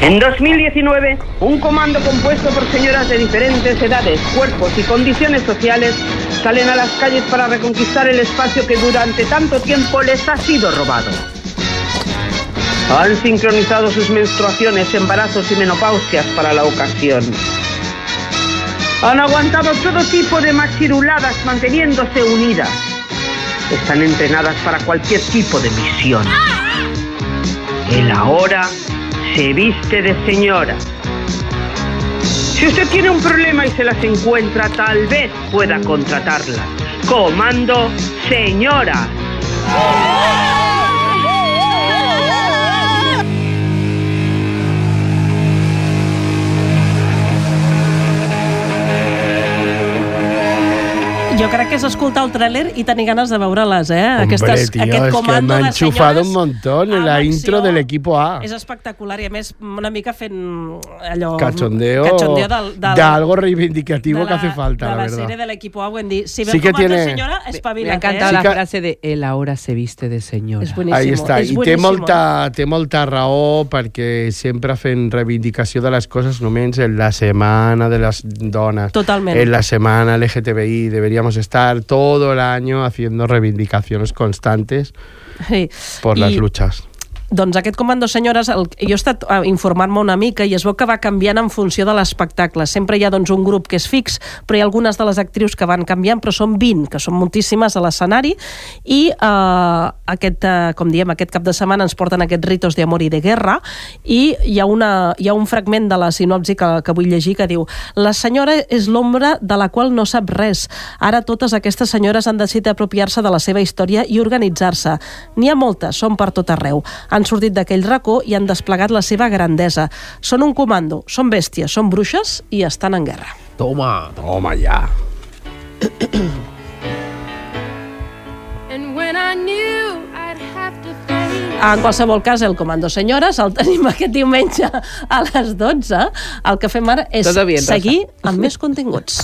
N: En 2019, un comando compuesto por señoras de diferentes edades, cuerpos y condiciones sociales salen a las calles para reconquistar el espacio que durante tanto tiempo les ha sido robado. Han sincronizado sus menstruaciones, embarazos y menopausias para la ocasión. Han aguantado todo tipo de machiruladas manteniéndose unidas. Están entrenadas para cualquier tipo de misión. El ahora se viste de señora. Si usted tiene un problema y se las encuentra, tal vez pueda contratarlas. Comando señora.
C: Jo crec que és escoltar el tràiler i tenir ganes de veure-les, eh? Aquestes,
F: tío,
C: aquest
F: es que
C: comando
F: me ha
C: de
F: enchufado
C: senyores
F: un montón
C: Ah,
F: en la intro del equipo A.
C: és espectacular i a més una mica fent mm, allò...
F: Cachondeo,
C: cachondeo del, del,
F: de algo reivindicativo
C: de
F: que hace falta,
C: de
F: la,
C: la,
F: verdad.
C: sèrie de l'equipo A, Wendy. Si veus
F: Sí que
C: com tiene...
F: tiene-
C: senyora, eh? espavila.
G: Me ha encantado la frase de él ahora se viste de señora.
C: És
F: Ahí
C: boníssim.
F: està,
C: és
F: i té
C: boníssim.
F: molta, té molta raó perquè sempre fent reivindicació de les coses només en la setmana de les dones.
C: Totalment.
F: En la setmana LGTBI deberíamos estar todo el año haciendo reivindicaciones constantes
C: Sí.
F: por
C: I-
F: las luchas.
C: Doncs aquest Comando Senyores, el, jo he estat eh, informant-me una mica i es veu que va canviant en funció de l'espectacle. Sempre hi ha doncs, un grup que és fix, però hi ha algunes de les actrius que van canviant, però són 20, que són moltíssimes a l'escenari, i eh, aquest, eh, com diem, aquest cap de setmana ens porten aquests ritos d'amor i de guerra, i hi ha, una, hi ha un fragment de la sinopsi que, que vull llegir que diu La senyora és l'ombra de la qual no sap res. Ara totes aquestes senyores han decidit apropiar-se de la seva història i organitzar-se. N'hi ha moltes, són per tot arreu. Han sortit d'aquell racó i han desplegat la seva grandesa. Són un comando, són bèsties, són bruixes i estan en guerra.
G: Toma.
F: Toma ya.
L: And when I knew I'd have to face
C: En qualsevol cas, el Comando Senyores el tenim *laughs* aquest diumenge a les 12. El que fem ara és
A: Todo bien, Rosa.
C: seguir amb més continguts.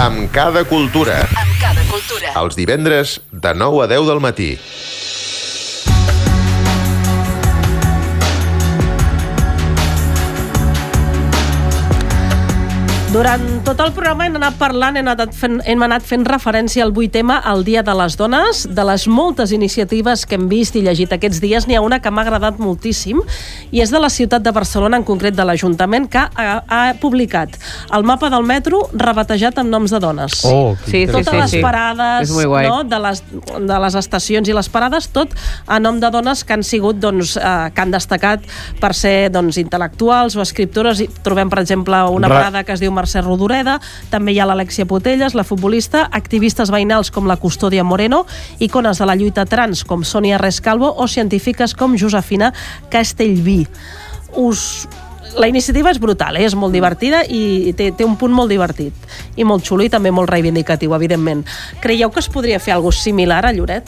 A: Amb cada cultura.
B: Cada cultura.
A: Els divendres de 9 a 10 del matí.
C: Durant tot el programa hem anat parlant, hem anat fent, hem anat fent referència al vuit tema, al Dia de les Dones, de les moltes iniciatives que hem vist i llegit aquests dies, n'hi ha una que m'ha agradat moltíssim, i és de la ciutat de Barcelona, en concret de l'Ajuntament, que ha, ha publicat el mapa del metro rebatejat amb noms de dones.
G: Oh, que Sí, sí,
C: Totes
G: sí,
C: les
G: sí.
C: parades
G: És molt guai.
C: no, de, les, de les estacions i les parades, tot a nom de dones que han sigut, doncs, eh, que han destacat per ser doncs, intel·lectuals o escriptores. I trobem, per exemple, una
O: Ra-
C: parada que es diu Mercè Rodoreda, també hi ha l'Alexia Potelles, la futbolista, activistes veïnals com la Custòdia Moreno, icones de la lluita trans com Sònia Rescalvo o científiques com Josefina Castellví. Us... La iniciativa és brutal, eh? és molt divertida i té, té un punt molt divertit i molt xulo i també molt reivindicatiu, evidentment. Creieu que es podria fer alguna similar a Lloret?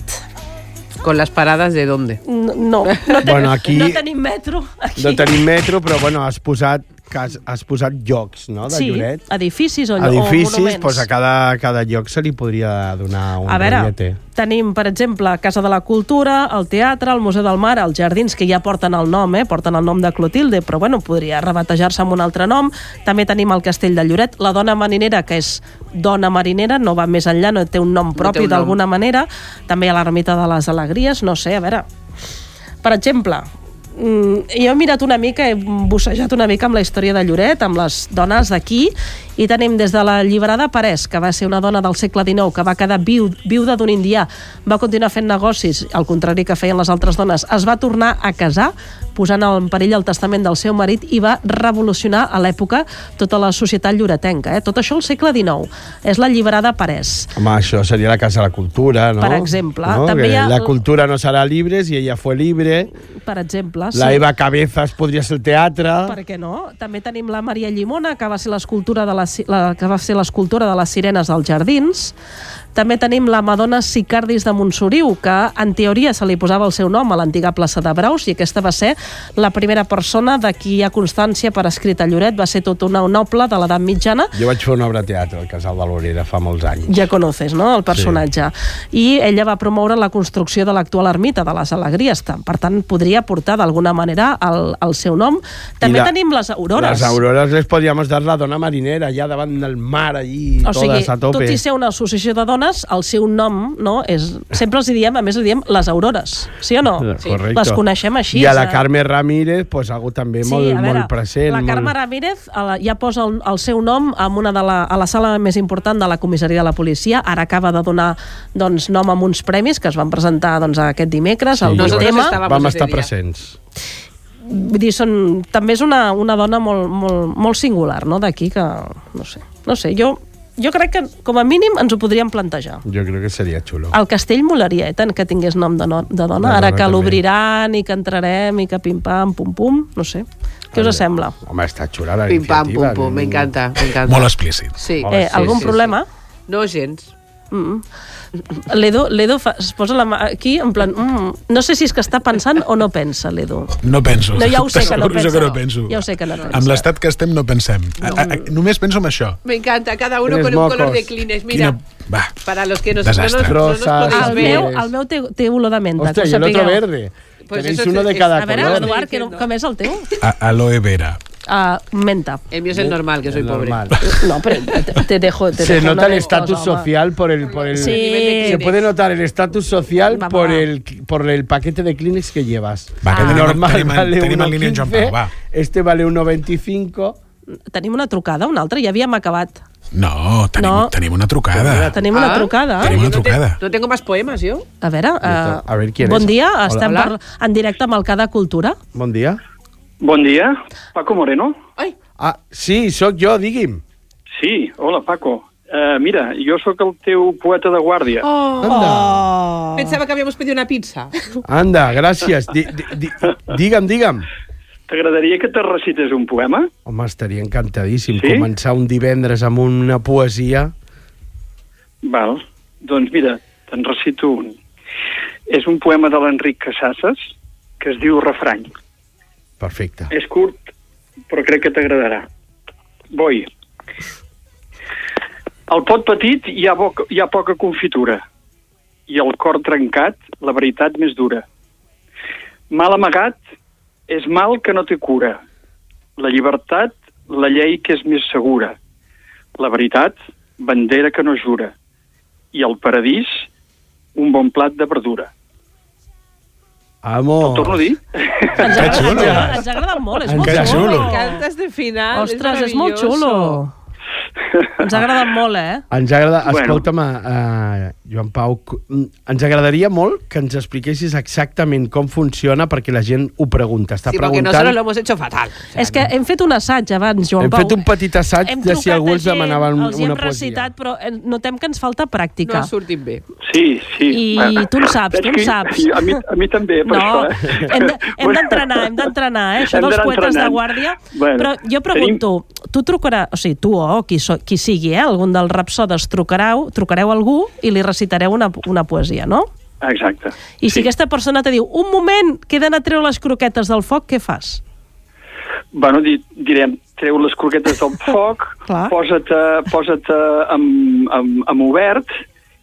G: Con las paradas de dónde.
C: No,
F: *laughs*
C: no, no, ten
F: Bueno, aquí-
C: no tenim metro. Aquí.
F: No tenim metro, però bueno, has posat, que has, has posat llocs, no?, de
C: sí,
F: Lloret.
C: edificis o, o
F: Edificis,
C: monuments.
F: doncs a cada, a cada lloc se li podria donar un
C: A veure,
F: rotllete.
C: tenim, per exemple, Casa de la Cultura, el Teatre, el Museu del Mar, els Jardins, que ja porten el nom, eh? porten el nom de Clotilde, però bueno, podria rebatejar-se amb un altre nom. També tenim el Castell de Lloret, la Dona Marinera, que és Dona Marinera, no va més enllà, no té un nom propi
O: un nom.
C: d'alguna manera. També hi ha l'Ermita de les Alegries, no sé, a veure... Per exemple, Mm, jo he mirat una mica, he bussejat una mica amb la història de Lloret, amb les dones d'aquí, i tenim des de la Lliberada Parés, que va ser una dona del segle XIX, que va quedar viu, viuda d'un indià, va continuar fent negocis, al contrari que feien les altres dones, es va tornar a casar, posant en perill el testament del seu marit i va revolucionar a l'època tota la societat lloretenca. Eh? Tot això al segle XIX. És la Lliberada Parés.
F: Home, això seria la Casa de la Cultura, no?
C: Per exemple,
F: No?
C: també
F: Que
C: hi ha
F: La
C: el-
F: cultura no serà libre si ella fue libre.
C: Per exemple...
F: La Eva Cabezas podria ser el teatre.
C: Ah, Per què no? També tenim la Maria Llimona, que va ser l'escultura de la, ci- la, que va ser l'escultora de les sirenes dels jardins. També tenim la Madonna Sicardis de Montsoriu, que en teoria se li posava el seu nom a l'antiga plaça de Braus i aquesta va ser la primera persona de qui hi ha constància per escrit a Lloret. Va ser tota una noble de l'edat mitjana
F: Jo vaig fer una obra de teatre al Casal de l'Orera fa molts anys.
C: ja conoces, no?, el personatge. Sí. I ella va promoure la construcció de l'actual ermita de les Alegries. Tan- Per tant, podria portar d'alguna manera el, el seu nom. També
F: la-
C: tenim les aurores.
F: Les aurores les podríamos dar la dona marinera allà davant del mar, allí,
C: O sigui,
F: totes a tope.
C: tot i ser una associació de dones, el seu nom no, és... Sempre els hi diem, a més, li diem les aurores, Ah, sí o no?
F: Correcte.
C: Les coneixem així.
F: I a la
C: eh?
F: Carme Ramírez, pues, algú també
C: Sí,
F: molt,
C: a veure,
F: molt present.
C: La Carme
F: molt...
C: Ramírez a la- ja posa el, el seu nom en una de la, a la sala més important de la comissaria de la policia. Ara acaba de donar doncs, nom a uns premis que es van presentar doncs, aquest dimecres. al
F: Nosaltres
C: Vuitema.
F: Vam estar presents.
C: Vull dir, són, també és una, una dona molt, molt, molt singular, no?, d'aquí, que no sé. No sé, jo, jo crec que com a mínim ens ho podríem plantejar.
F: Jo crec que seria xulo.
C: El castell molaria, eh, tant que tingués nom de, no, de dona,
F: De
C: ara
F: dona
C: que
F: també.
C: l'obriran i que entrarem i que pim-pam, pum-pum, no sé. Què us sembla?
F: Home, està xula la
G: Pim, pam, pum,
F: iniciativa.
G: pum, m'encanta, m'encanta.
F: Molt explícit.
G: Sí.
C: Eh, algun problema?
G: No gens.
C: Mm. L'Edo, l'Edo fa, es posa la mà aquí en plan... Mm. No sé si és que està pensant o no pensa, l'Edo.
J: No penso.
C: No, ja ho sé que no
J: T'asseguro
C: pensa.
J: que no penso.
C: Ja ho sé que no pensa.
J: Amb l'estat que estem no pensem. A, a, a, només penso en això.
G: Me encanta, cada uno
J: Tienes
G: con un color
J: mocos.
G: de Kleenex. Mira,
J: Va.
G: para los que nos, no nos, no
J: Desastre.
G: nos
J: Rosas,
G: podéis
C: El
G: ver.
C: meu, el meu té, té olor de menta.
J: Hòstia,
C: que
J: i
C: ho
J: el otro
C: sapigueu.
J: verde. Pues Tenéis eso uno de es- cada
C: A veure,
J: color.
C: Eduard, que no, com és el teu?
J: A, aloe vera.
C: Ah, menta.
G: El mío es el normal, que soy pobre.
C: No, pero *laughs* te, te dejo... Te
F: Se
C: dejo
F: nota el
C: una
F: estatus
C: cosa, home.
F: social por el... Por el
C: Sí. El nivel de Kleenex.
F: Se puede notar el estatus social
C: Mamá.
F: por el, por el paquete de Kleenex que llevas.
J: Va, que Ah. tenim- tenim- tenim en línia en Joan Pau,
F: 1,15,
J: va.
F: este vale 1,25.
C: Tenim una trucada, una altra, ja havíem acabat.
J: No, tenim,
C: No.
J: no. tenim una trucada.
C: Tenim una trucada.
J: Tenim una trucada.
G: Ah, No tengo más poemas, yo.
C: A veure, uh,
F: A ver, ¿quién
C: bon
F: es?
C: dia,
F: Hola.
C: estem
F: Hola.
C: per, en directe amb el Cada Cultura.
F: Bon dia.
P: Bon dia, Paco Moreno.
F: Ah, sí, sóc jo, digui'm.
P: Sí, hola, Paco. Uh, mira, jo sóc el teu poeta de guàrdia.
G: Oh.
F: Anda.
G: Pensaba que habíamos pedido una pizza.
F: Anda, gràcies. Di, di, di, digue'm, digue'm.
P: T'agradaria que te recites un poema?
F: Home, estaria encantadíssim
P: Sí?
F: sí? començar un divendres amb una poesia.
P: Val. Doncs mira, te'n recito un. És un poema de l'Enric Casasses que es diu Refrany.
F: Perfecte.
P: És curt, però crec que t'agradarà. Boi. Al pot petit hi ha, boca, hi ha poca confitura i al cor trencat la veritat més dura. Mal amagat és mal que no té cura. La llibertat, la llei que és més segura. La veritat, bandera que no jura. I al paradís, un bon plat de verdura.
F: Amo.
P: Torno a dir?
C: Ens agrada, ens agrada, ens agrada molt, és
F: Ens
C: molt
F: agrada.
C: xulo.
F: Me
G: encanta este final, Ah, és
C: Ostres, és, molt
G: maravilloso.
C: xulo. Ens ha agradat molt, eh?
F: Ens agrada...
C: Bueno.
F: Bueno. Escolta'm, uh, Joan Pau, cu- mm, ens agradaria molt que ens expliquessis exactament com funciona perquè la gent ho pregunta. Està
G: Sí, porque
F: preguntant...
G: nosotros lo hemos hecho fatal.
C: És que hem fet un assaig abans, Joan
F: Hem
C: Pau.
F: fet un petit assaig
C: Hem
F: de si
C: trucat
F: algú
C: a
F: els
C: gent,
F: demanava un-
C: els hi hem
F: una poesia.
C: recitat, però eh, notem que ens falta pràctica.
G: No ha sortit bé.
P: Sí, sí.
C: I
P: Bueno,
C: tu en saps,
P: és
C: tu en
P: que
C: saps.
P: A mi, a mi també, per
C: No,
P: això. Eh?
C: hem de- hem d'entrenar, hem d'entrenar, eh? Això
P: Hem
C: dels
P: d'anar
C: poetes de
P: entrenant.
C: guàrdia.
P: Bueno,
C: Però jo pregunto, tu trucarà, o sigui, tu o qui, so, qui sigui, eh? Algun dels rapsodes trucareu, trucareu a algú i li recitareu una, una poesia, no?
P: Exacte.
C: I sí. si aquesta persona te diu, un moment, queden a treure les croquetes del foc, què fas?
P: Bueno, di, direm, treu les croquetes
C: *laughs*
P: del foc, posa't, eh, posa't eh, amb, amb, amb obert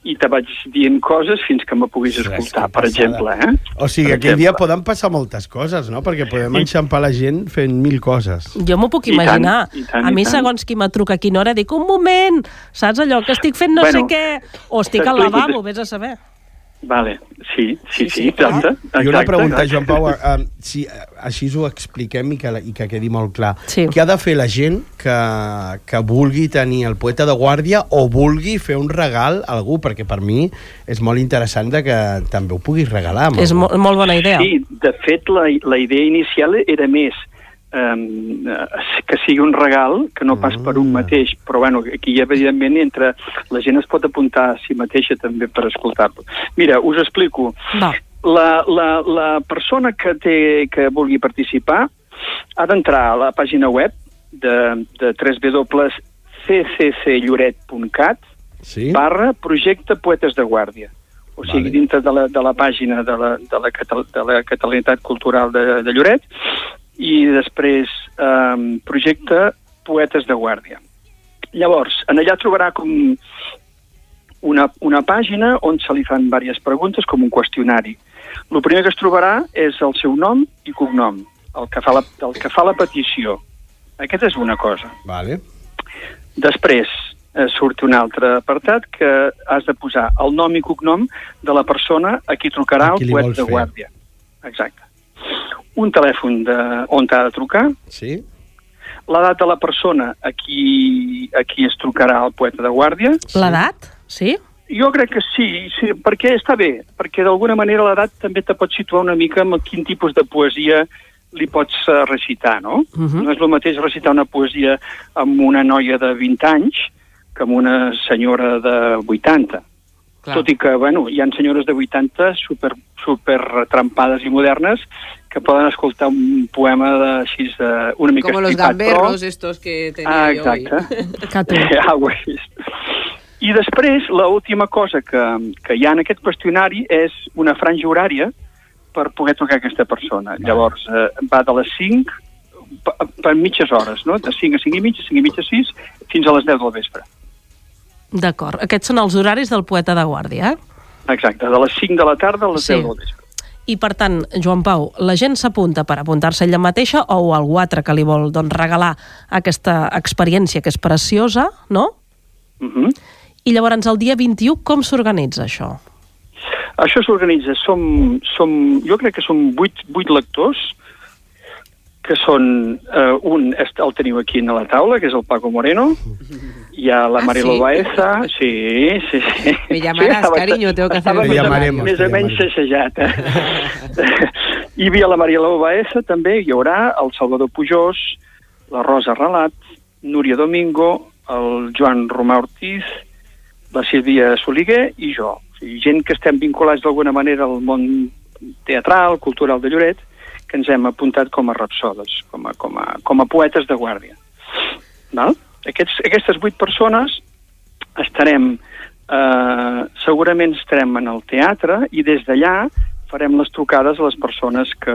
P: i te vaig dient coses fins que me puguis escoltar, per exemple. Eh?
F: O sigui,
P: Per exemple.
F: aquell dia poden passar moltes coses, no? Perquè podem enxampar la gent fent mil coses.
C: Jo m'ho puc
F: I tant,
C: imaginar.
F: i tant,
C: a
F: i
C: mi,
F: tant.
C: segons qui me truca a quina hora, dic, un moment, saps allò, que estic fent no bueno, sé
P: Bueno,
C: què, o estic al
P: t'explico,
C: lavabo, vés a saber.
P: Vale, sí, sí, sí, exacte. exacte
F: I una pregunta,
P: exacte.
F: Joan Pau, eh, si eh, així ho expliquem i que, la- i que quedi molt clar.
C: Sí.
F: Què ha de fer la gent que, que vulgui tenir el poeta de guàrdia o vulgui fer un regal a algú? Perquè per mi és molt interessant de que també ho puguis regalar. amb
C: És
F: algú.
C: mo molt bona idea.
P: Sí, de fet, la, la idea inicial era més um, que sigui un regal, que no pas per un mateix, però bueno, aquí ja, evidentment entre la gent es pot apuntar a si mateixa també per escoltar-lo. Mira, us explico.
C: Va.
P: La, la, la persona que, té, que vulgui participar ha d'entrar a la pàgina web de, de www.ccclloret.cat
F: sí?
P: barra projecte Poetes de Guàrdia. O sigui, vale. dintre de la, de la pàgina de la, de la, catal de la Catalanitat Cultural de, de Lloret i després eh, projecte Poetes de Guàrdia. Llavors, en allà trobarà com una, una pàgina on se li fan diverses preguntes com un qüestionari. El primer que es trobarà és el seu nom i cognom, el que fa la, el que fa la petició. Aquesta és una cosa.
F: Vale.
P: Després eh, surt un altre apartat que has de posar el nom i cognom de la persona a qui trucarà
F: A qui
P: el
F: li
P: web
F: vols
P: de
F: fer.
P: guàrdia. Exacte. Un telèfon de, on t'ha de trucar,
F: Sí?
P: l'edat de la persona a qui, a qui es trucarà el poeta de guàrdia.
C: L'edat? Sí?
P: Jo crec que sí, sí perquè està bé, perquè d'alguna manera l'edat també te pot situar una mica en quin tipus de poesia li pots eh, recitar, no?
K: Mhm.
P: No és el mateix recitar una poesia amb una noia de 20 anys que amb una senyora de 80. Clar. Tot i que, bueno, hi han senyores de 80 super, super trampades i modernes que poden escoltar un poema de, així, de, una mica
G: Como los
P: estripat, però- *laughs*
G: gamberros estos que tenía
P: Ah,
G: yo hoy.
P: exacte. Ah, ho és. I després, l última cosa que, que hi ha en aquest qüestionari és una franja horària per poder tocar aquesta persona. Vale. Llavors, eh, va de les 5 per, per mitges hores, no? De 5 a 5 i mitja, 5 i mitja a 6, fins a les 10 del vespre.
C: D'acord. Aquests són els horaris del poeta de guàrdia, eh?
P: Exacte, de les 5 de la tarda a les
C: Sí.
P: sí. 10 del vespre.
C: I, per tant, Joan Pau, la gent s'apunta per apuntar-se ella mateixa o algú altre que li vol doncs, regalar aquesta experiència que és preciosa, no?
P: Uh -huh.
C: I llavors, el dia 21, com s'organitza això?
P: Això s'organitza, som, som, jo crec que són 8, 8 lectors, que són, eh, un és- el teniu aquí a la taula, que és el Paco Moreno, hi ha la
G: Ah,
P: Marilo
G: sí?
P: Baeza, sí, sí, sí.
G: Me llamarás, cariño, tengo que hacer
P: estava
G: un
P: més,
G: programa.
P: o- més o menys sassejat. Eh?
G: *laughs*
P: hi havia la Marilo Baeza, també, hi haurà el Salvador Pujós, la Rosa Relat, Núria Domingo, el Joan Romà Ortiz, la Sílvia Soliguer i jo. O sigui, gent que estem vinculats d'alguna manera al món teatral, cultural de Lloret, que ens hem apuntat com a rapsodes, com a, com a, com a poetes de guàrdia. Val? Aquests, aquestes vuit persones estarem, eh, segurament estarem en el teatre i des d'allà farem les trucades a les persones que,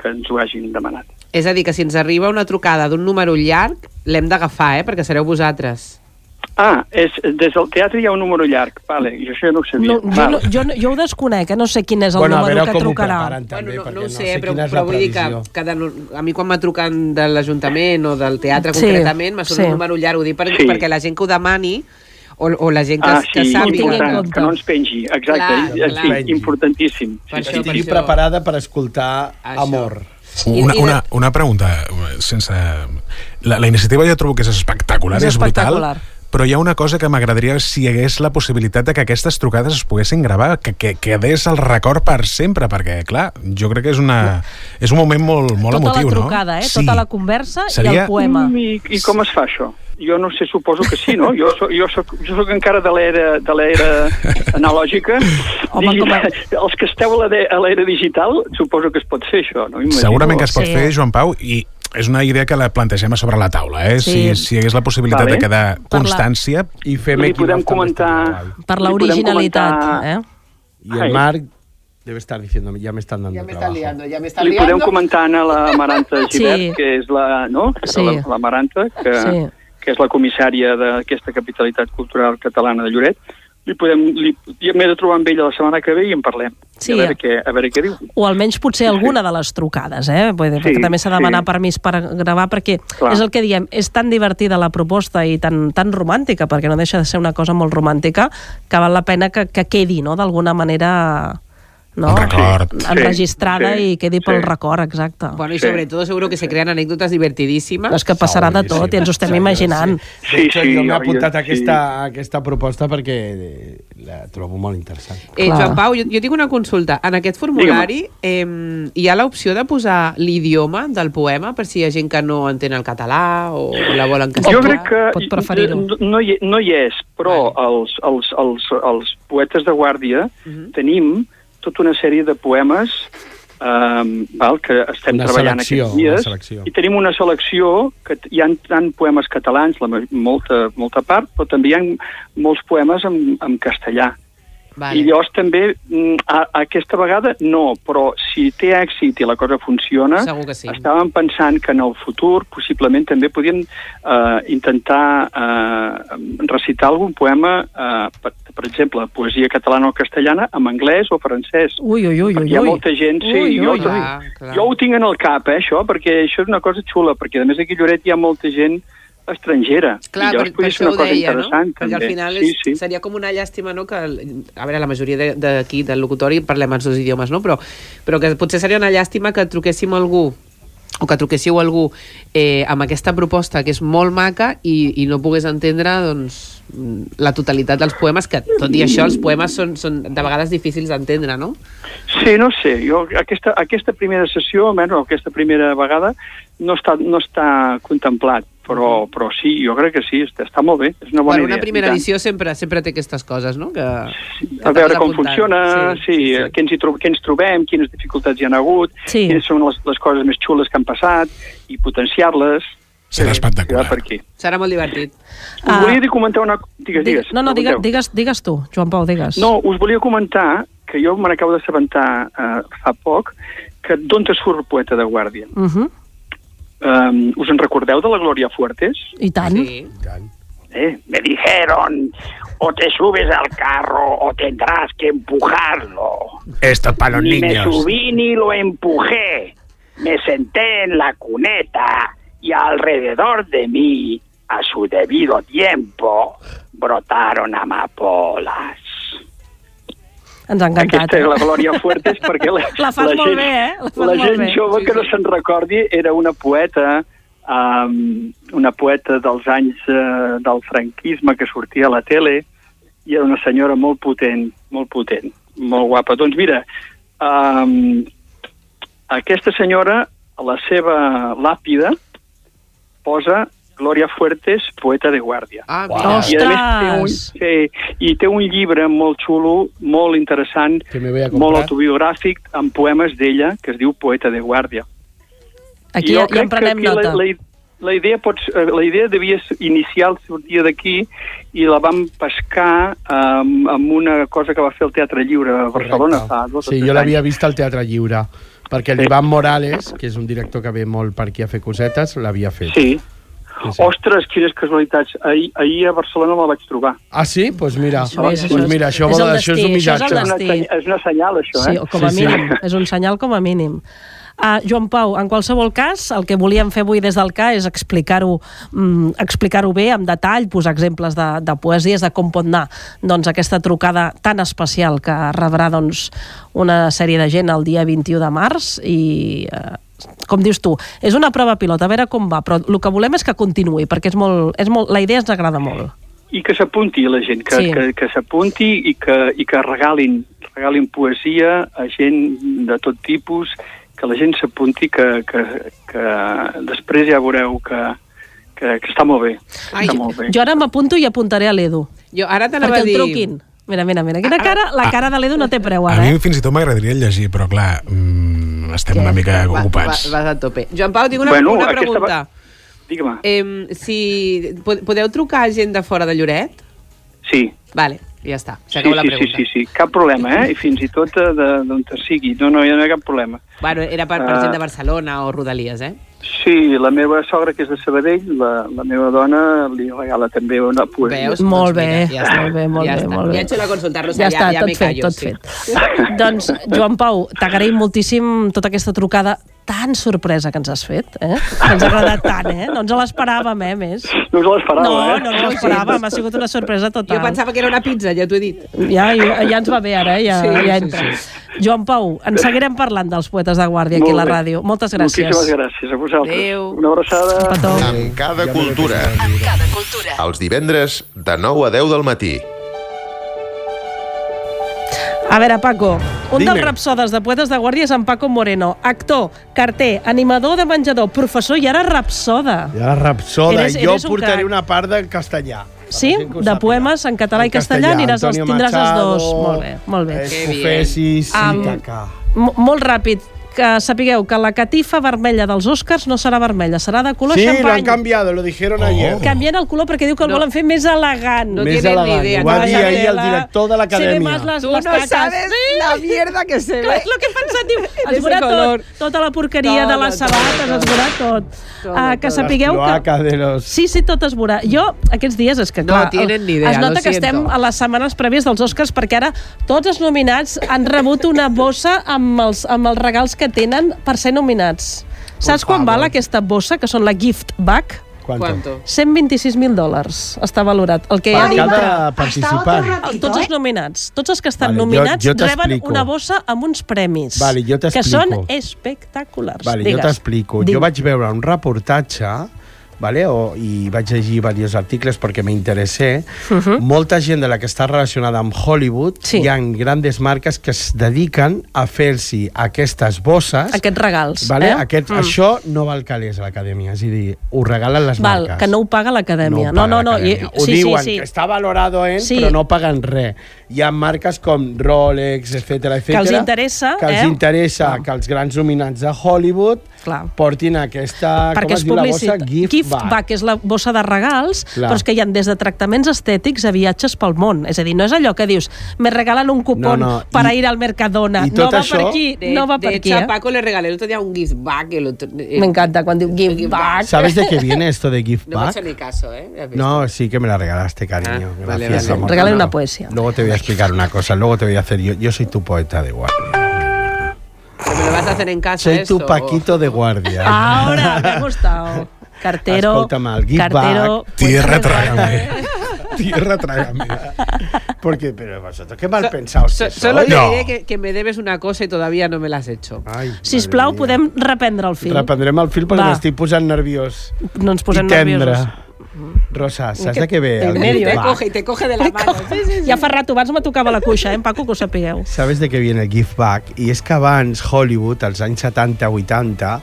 P: que ens ho hagin demanat.
G: És a dir, que si ens arriba una trucada d'un número llarg, l'hem d'agafar, eh? Perquè sereu vosaltres.
P: Ah, és, des del teatre hi ha un número llarg, vale, jo això ja no ho sabia.
C: No, jo, no, jo, no- jo ho desconec, eh? no sé quin és el
P: Bueno, a
C: número
P: veure
C: que
P: com ho
C: trucarà.
P: preparen, eh?
C: Bueno,
G: no, no,
P: no
G: ho sé,
P: sé
G: però,
P: quina és
G: però
P: la
G: vull dir que,
P: previsió.
G: que de, no- a mi quan m'ha trucat de l'Ajuntament o del teatre
C: Sí,
G: concretament, m'ha sonat
C: sí.
G: un número llarg, ho dic per,
P: Sí.
G: perquè la gent que ho demani o, o la gent que,
P: Ah,
G: que
P: sí,
G: sàpiga...
P: important, que no ens pengi, exacte,
G: Clar,
P: clar,
G: clar.
P: sí, importantíssim.
G: Per
P: sí,
G: això,
P: sí,
G: per
P: sí.
G: això.
F: Preparada per escoltar Això. amor.
J: Una, una, una pregunta, eh, sense... La, la iniciativa jo trobo que és espectacular, és,
C: És espectacular.
J: brutal, però hi ha una cosa que m'agradaria si hi hagués la possibilitat de que aquestes trucades es poguessin gravar, que, que quedés el record per sempre, perquè, clar, jo crec que és, una, és un moment molt, molt
C: Tota
J: emotiu,
C: la trucada,
J: no?
C: eh? tota la conversa i
J: Seria-
C: el poema.
P: Mm, I, I com es fa això? Jo no sé, suposo que sí, no? Jo soc, jo soc, jo soc encara de l'era de l'era analògica. Home, digital, Els que esteu a la de- a l'era digital, suposo que es pot fer això, no? Imagino.
J: Segurament que es pot fer, Joan Pau, i és una idea que la plantegem a sobre la taula, eh?
P: Sí.
J: Si, si hi hagués la possibilitat
P: Vale.
J: de quedar
P: Parla.
J: constància...
F: I
P: Li podem comentar...
C: Per
P: li podem
C: l'originalitat,
P: comentar-
C: eh?
F: Y el
P: Ay.
F: Marc debe estar diciendo, ya me están dando trabajo.
G: ja
P: Li podem comentar a la Maranta
F: Sí.
P: Givert, que és la, eh, no?
F: Sí.
P: La, la Maranta, que, sí.
F: Sí.
P: que és la comissària d'aquesta capitalitat cultural catalana de Lloret. Li podem, li, i m'he de trobar amb ella la setmana que ve i en parlem.
C: Sí.
P: I a, veure què, a veure què diu.
C: O almenys potser alguna de les trucades, eh? Vull dir,
P: Sí,
C: perquè també s'ha de demanar
P: sí.
C: permís per gravar, perquè
P: Clar.
C: és el que diem, és tan divertida la proposta i tan, tan romàntica, perquè no deixa de ser una cosa molt romàntica, que val la pena que, que quedi, no?, d'alguna manera... No?
G: Un record. Sí,
C: Enregistrada
G: sí,
C: i quedi pel record, exacte.
G: Bueno, y sobre todo seguro que se crean anécdotas divertidísimas.
C: És que passarà de tot i ens ho estem imaginant.
F: De hecho,
G: sí,
F: jo m'he
G: jo-
F: apuntat
G: sí.
F: a aquesta, a aquesta proposta perquè eh, la trobo molt interessant.
G: Eh, Joan Pau, jo, jo tinc una consulta. En aquest formulari eh, hi ha l'opció de posar l'idioma del poema per si hi ha gent que no entén el català o la vol en castellà?
P: Jo crec que
G: pot preferir-ho.
P: no, no, hi, no hi és, però els, els, els, els poetes de guàrdia tenim tota una sèrie de poemes um, val, que estem
F: Una
P: treballant
F: selecció,
P: aquests
F: una
P: dies
F: selecció.
P: i tenim una selecció que t- hi ha tant poemes catalans, la, ma- molta, molta part, però també hi ha molts poemes en, en castellà.
G: Vale.
P: I llavors també, mm, a, aquesta vegada no, però si té èxit i la cosa funciona,
G: Segur que sí.
P: estàvem pensant que en el futur possiblement també podíem eh, intentar eh, recitar algun poema, eh, per, per exemple, poesia catalana o castellana, en anglès o francès.
C: Ui, ui, ui, ui.
P: Hi ha molta gent, sí,
C: Ui,
P: jo,
C: ui,
P: també-
F: Ah,
C: clar, clar.
P: jo ho tinc en el cap, eh, això, perquè això és una cosa xula, perquè a més aquí a Lloret hi ha molta gent estrangera.
G: Clar,
P: I
G: per,
P: llavors
G: per
P: podria ser
G: això ho
P: una cosa
G: deia, no?
P: interessant,
G: Perquè al
P: també.
G: final
P: Sí,
G: és, sí. seria com una llàstima, no?, que, el- a veure, la majoria de- d'aquí, del locutori, parlem els dos idiomes, no?, però, però que potser seria una llàstima que truquéssim a algú o que truquéssiu a algú eh, amb aquesta proposta que és molt maca i, i no pogués entendre doncs, mm, la totalitat dels poemes que tot i això els poemes són, són de vegades difícils d'entendre, no?
P: Sí, no sé, jo aquesta, aquesta primera sessió, almenys o aquesta primera vegada, no està, no està contemplat, però, però sí, jo crec que sí, està, està molt bé, és una bona
G: Mm-hmm. Bueno, una
P: idea.
G: primera
P: i tant.
G: edició sempre sempre té aquestes coses, no? Que, que
P: A veure
G: t'has
P: com
G: d'apuntar.
P: funciona, sí, sí, sí. Què, ens hi tro- què ens trobem, quines dificultats hi ha hagut, sí. quines són les, les coses més xules que han passat, i potenciar-les.
J: Serà espectacular.
P: Per aquí.
G: Serà molt divertit.
P: Us volia dir comentar una... Digues, digues.
C: Ah. No, no, digues,
P: Pregunteu.
C: digues, digues tu, Joan Pau, digues.
P: No, us volia comentar que jo me n'acabo d'assabentar eh, fa poc que d'on te surt poeta de guàrdia.
C: Uh -huh.
P: Um, us en recordeu de la Glòria Fuertes?
C: I tant.
G: Sí.
Q: ¿eh? Me dijeron, o te subes al carro o tendrás que empujarlo.
J: Esto es para los
Q: ni me
J: niños.
Q: subí ni lo empujé. Me senté en la cuneta y alrededor de mí, a su debido tiempo, brotaron amapolas.
C: Ens ha encantat.
P: Aquesta és la Glòria Fuertes perquè la,
C: *laughs* La fas
P: la
C: molt
P: gent,
C: bé, eh? La fas
P: la
C: molt
P: gent
C: bé.
P: jove que no se'n recordi era una poeta um, una poeta dels anys uh, del franquisme que sortia a la tele i era una senyora molt potent, molt potent, molt guapa. Doncs mira, um, aquesta senyora a la seva làpida posa Gloria Fuertes, poeta de guàrdia.
G: Ah,
C: mira.
P: I a més té un,
C: Ostres!
P: sí, i té un llibre molt xulo, molt interessant,
F: me voy a comprar.
P: molt autobiogràfic, amb poemes d'ella, que es diu Poeta de guàrdia.
C: Aquí ja,
P: Jo
C: ja
P: crec
C: en prenem
P: que aquí
C: nota.
P: La, la, la, idea pots, eh, la idea devia s- inicial sortir d'aquí i la vam pescar um, amb una cosa que va fer el Teatre Lliure a Barcelona fa dos o
F: Sí,
P: tres
F: jo l'havia
P: anys.
F: vist al Teatre Lliure, perquè l'Ivan Morales, que és un director que ve molt per aquí a fer cosetes, l'havia fet.
P: Sí. Ostres, quines casualitats. Ahir, ahir a Barcelona la vaig trobar.
F: Ah, sí? Doncs pues mira,
P: Això és,
F: doncs
P: això
F: pues
P: és.
F: mira, això,
P: És
F: vol,
P: el
F: això és
P: destí,
F: un
P: això és
F: missatge.
P: el destí.
C: Sí.
P: És una senyal, això,
C: Sí,
P: eh?
C: o com a
F: Sí,
C: sí,
F: sí.
C: mínim, sí. és un senyal com a mínim. Uh, Joan Pau, en qualsevol cas, el que volíem fer avui des del CA és explicar-ho mm, explicar bé, amb detall, posar exemples de, de poesies, de com pot anar doncs, aquesta trucada tan especial que rebrà doncs, una sèrie de gent el dia 21 de març i, eh, com dius tu, és una prova pilota, a veure com va, però el que volem és que continuï, perquè és molt, és molt, la idea ens agrada molt.
P: I que s'apunti la gent, que,
C: Sí.
P: sí. que, que s'apunti i que, i que regalin, regalin poesia a gent de tot tipus, que la gent s'apunti, que, que, que després ja veureu que, que, que està molt bé. Ai, està molt bé.
C: Jo ara m'apunto i apuntaré a l'Edu.
G: Jo ara t'anava a
C: perquè el
G: dir... Ah,
C: truquin. Mira, mira, mira, quina cara, la cara de l'Edu no té preu
J: A
C: ara, eh?
J: mi fins i tot m'agradaria llegir, però clar, mm, estem una mica
G: Va, va,
J: ocupats.
G: vas a tope. Joan Pau, tinc una,
J: Bueno,
G: una
J: aquesta
G: pregunta.
J: va-
P: Digue'm.
G: Em, si po- podeu trucar a gent de fora de Lloret?
P: Sí.
G: Vale, ja està.
P: Sí,
G: S'acaba la
P: sí, sí,
G: pregunta.
P: sí, sí, cap problema, eh? I fins i tot eh, de- d'on te sigui. No, no, ja no hi ha cap problema.
G: Bueno, era per, per
P: Ah.
G: gent de Barcelona o Rodalies, eh?
P: Sí, la meva sogra, que és de Sabadell, la, la meva dona li regala també una poesia.
G: Veus? Doncs
C: Molt bé,
G: ja està.
C: molt bé, molt
G: ja
C: bé,
G: està.
C: molt bé.
G: Ja ets una consultar-los, ja,
C: Ja està,
G: ja,
C: tot
G: me
C: fet,
G: callo.
C: tot
G: sí.
C: fet. doncs, Joan Pau, t'agraïm moltíssim tota aquesta trucada tan sorpresa que ens has fet, eh? Que ens ha agradat tant, eh? No ens l'esperàvem, eh, a més.
P: No us l'esperava,
C: no,
P: eh?
C: No, no ens l'esperàvem, ha sigut una sorpresa total.
G: Jo pensava que era una pizza, ja t'ho he dit.
C: Ja, ja, ja ens va bé ara, eh? ja,
G: Sí,
C: ja
G: sí,
C: entra. Joan Pau, ens seguirem parlant dels poetes de guàrdia aquí a la
P: Molt bé.
C: ràdio. Moltes gràcies.
P: Moltíssimes gràcies a vosaltres.
C: Adéu.
P: Una abraçada.
A: Amb cada cultura. Amb cada cultura. Els divendres de 9 a 10 del matí.
C: A veure, Paco, un
A: Dime.
C: dels rapsodes de poetes de guàrdia és en Paco Moreno, actor, carter, animador de menjador, professor i ara rapsoda.
F: I ara rapsoda.
C: Eres-
F: jo
C: eres un
F: portaré
C: crac.
F: una part del castellà.
C: Sí? De poemes en català i castellà,
F: castellà,
C: aniràs els,
F: Antonio
C: tindràs els
F: Machado,
C: dos. Molt bé, molt bé.
F: Escofessis Eh, i
C: Am-
F: Cacà.
C: Mo- Molt ràpid, que sapigueu que la catifa vermella dels Oscars no serà vermella, serà de color
F: Sí, lo han
C: xampany.
F: cambiado, lo dijeron
P: Oh.
F: ayer.
C: Canvien el color perquè diu que el
F: No.
C: volen fer més elegant.
F: No Més tienen ni elegant. idea. Ho va dir ahir el director de l'acadèmia.
C: Sí, más las,
G: Tú
C: las
G: no
C: tacas.
G: sabes la mierda que se
C: Clar,
G: ve.
C: és el que he
G: *laughs*
C: pensat, diu,
G: De
C: es veurà
G: ese color.
C: tot, tota la porqueria
G: Todo,
C: de les
G: todo,
C: sabates, es veurà tot. Ah, que
F: Las
C: sapigueu que...
F: cloacas de los...
C: Sí, sí, tot es veurà. Jo, aquests dies, és que
G: No
C: clar...
G: tienen ni idea,
C: es nota
G: lo
C: que estem
G: siento.
C: a les setmanes prèvies dels Oscars perquè ara tots els nominats han rebut una bossa amb els, amb els regals que tenen per ser nominats. Saps quan val aquesta bossa, que són la gift bag?
F: ¿Cuánto?
C: 126.000 dòlars està valorat. El que
F: Per
C: hi ha dintre.
F: cada participant.
C: Tots els nominats. Tots els que estan
F: Vale, jo-
C: nominats
F: jo
C: reben
F: t'explico.
C: una bossa amb uns premis.
F: Vale, jo
C: que són
F: t'explico.
C: espectaculars.
F: Vale,
C: Digues.
F: jo t'explico. Jo vaig veure un reportatge vale, o, i vaig llegir diversos articles perquè m'interessé. Uh
C: Mhm.
F: -huh. Molta gent de la que està relacionada amb Hollywood sí. hi ha grandes marques que es dediquen a fer-s'hi aquestes bosses.
C: Aquests regals.
F: Vale?
C: eh?
F: Eh? Aquest, mm. Això no val calés a l'acadèmia, és a dir, ho regalen les
C: Val,
F: marques.
C: que no ho paga l'acadèmia.
F: No ho
C: no, no,
F: paga
C: no.
F: l'acadèmia. Ho
C: sí,
F: diuen,
C: sí, sí.
F: que està valorado en,
C: Sí.
F: però no paguen res. Hi ha marques com Rolex, etc etc.
C: Que els interessa,
F: que els
C: eh?
F: interessa que els grans dominants de Hollywood
C: Clar.
F: portin aquesta,
C: Perquè
F: ah, com
C: és
F: es diu la bossa,
C: publicitat.
F: gift,
C: Gift gift bag, bag que és la bossa de regals, Clar. però és que hi han des de tractaments estètics a viatges pel món. És a dir, no és allò que dius, me regalen un cupón no, no. per I, ir al Mercadona. No va això... per aquí,
G: de,
C: no va
G: de
C: per aquí.
G: De hecho,
C: eh?
G: a Paco le regalé el otro día un gift bag. El otro, eh,
C: Me encanta cuando digo gift bag.
F: ¿Sabes de qué viene esto de
G: *laughs*
F: gift
G: No me ha
F: bag?
G: hecho ni caso, ¿eh? Ya ves.
F: No, sí que me la regalaste, cariño.
G: Ah, vale,
F: Gracias,
G: vale.
F: amor.
C: Regalen una poesía.
F: Luego te voy a explicar una cosa, luego te voy a hacer yo. Yo soy tu poeta de guardia.
G: Ah, Pero me lo vas a hacer en casa
F: Soy
G: esto,
F: tu Paquito de guardia. *laughs*
C: Ahora, me ha gustado. Cartero,
F: Escolta'm, el gift
C: cartero,
F: bag.
J: Tierra, trágame.
F: *laughs*
G: *laughs*
J: Tierra, trágame.
F: Porque, pero vosotros, qué mal pensados
G: So-
F: que
G: solo
F: sois.
G: te diré que, que me debes una cosa y todavía no me la has hecho.
F: Ai,
C: Sisplau,
F: madre
C: podem reprendre el
F: mia.
C: fil.
F: Reprendrem el fil perquè
C: Va.
F: m'estic posant nerviós.
C: No ens posem
F: I tendre.
C: nerviosos.
F: Rosa, saps
C: Que-
F: de què ve?
C: del
F: el
C: medio, eh,
F: gift
G: Te
C: Va.
F: bag?
G: coge y te coge de la mano. Sí, sí, sí.
C: Ja fa rato, abans me tocava la cuixa, eh, en Paco, que ho sapigueu.
F: Sabes de què viene el gift bag? I és que abans Hollywood, als anys 70-80,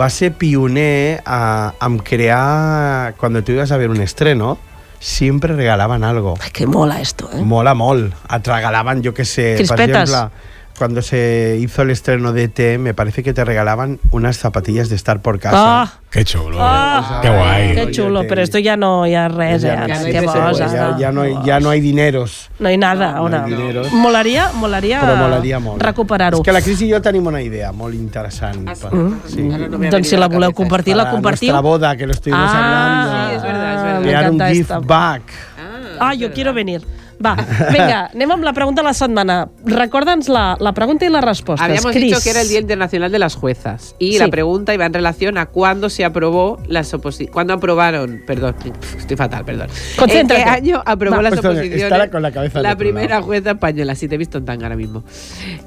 F: va ser pioner a, en crear... Quan tu ibas a ver un estreno, siempre regalaban algo.
C: Ai, que mola esto, eh?
F: Mola molt. Et regalaban, yo qué sé, por
C: Crispetas.
F: ejemplo, cuando se hizo el estreno de E T, me parece que te regalaban unas zapatillas de estar por casa.
C: Ah,
J: Qué chulo.
C: Ah.
J: qué guay.
C: que xulo,
F: Oye,
C: però esto ja no hi ha res, eh?
F: Ya
C: ara.
F: no
G: hay
C: Que
G: res,
C: boja.
G: eh?
F: ya, ya no hay, ya no hay dineros.
C: No hi ha nada,
F: No, no
C: ara.
F: hi ha diners.
C: Molaria, molaria,
F: Però molaria molt.
C: recuperar-ho.
F: És que la Cris i jo tenim una idea molt interessant.
G: Ah, sí?
F: Sí.
G: Ara no me ha
C: Doncs
G: venido
C: si
G: a
C: la
G: la
C: voleu
G: cabeza
C: compartir, la
F: Para
C: compartiu.
F: nuestra boda,
C: Ah,
F: que lo estuvimos hablando.
G: sí, es verdad, es verdad.
F: Crear un
C: m'encanta
F: gift
C: esta.
F: bag.
C: Ah, jo quiero venir. Va,
F: *laughs*
C: vinga, anem amb la pregunta de la setmana. Recorda'ns la, la pregunta i les respostes.
G: Habíamos
C: Cris.
G: dicho que era el Día Internacional de las Juezas. Y
C: Sí.
G: la pregunta iba en relación a cuándo se aprobó las oposiciones. ¿Cuándo aprobaron? Perdón, pf, estoy fatal, perdón.
C: Concéntrate.
G: ¿En qué año aprobó
F: Va,
G: las
F: pues, oye,
G: oposiciones?
F: estará con la cabeza al
G: la
F: otro lado.
G: primera jueza española. Si te he visto en tanga ahora mismo.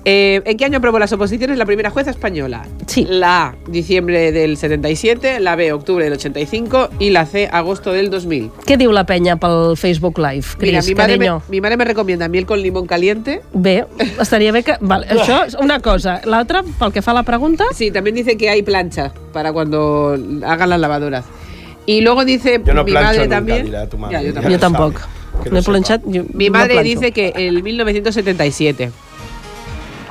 G: Eh, ¿En qué año aprobó las oposiciones la primera jueza española?
C: Sí.
G: La A, diciembre del 77, la B, octubre del 85 y la C, agosto del 2000.
C: Què diu la penya pel Facebook Live, Cris,
G: Mira, mi madre, me,
C: carinyo?
G: mi madre me recomienda miel con limón caliente. *laughs*
C: Bé, estaria bé que... Vale, això és una cosa. L'altra, pel que fa a la pregunta...
G: Sí, también dice que hay plancha para cuando hagan las lavadoras. Y luego dice
F: Yo no
G: mi
F: plancho
G: madre
F: nunca,
G: también.
F: dile a tu madre.
G: Ya, yo
F: Ya.
G: también.
C: jo tampoc.
F: sabe, que
C: No he
F: lo
C: planxat... Jo,
G: Mi
C: no
G: madre
C: planxo.
G: dice que el 1977.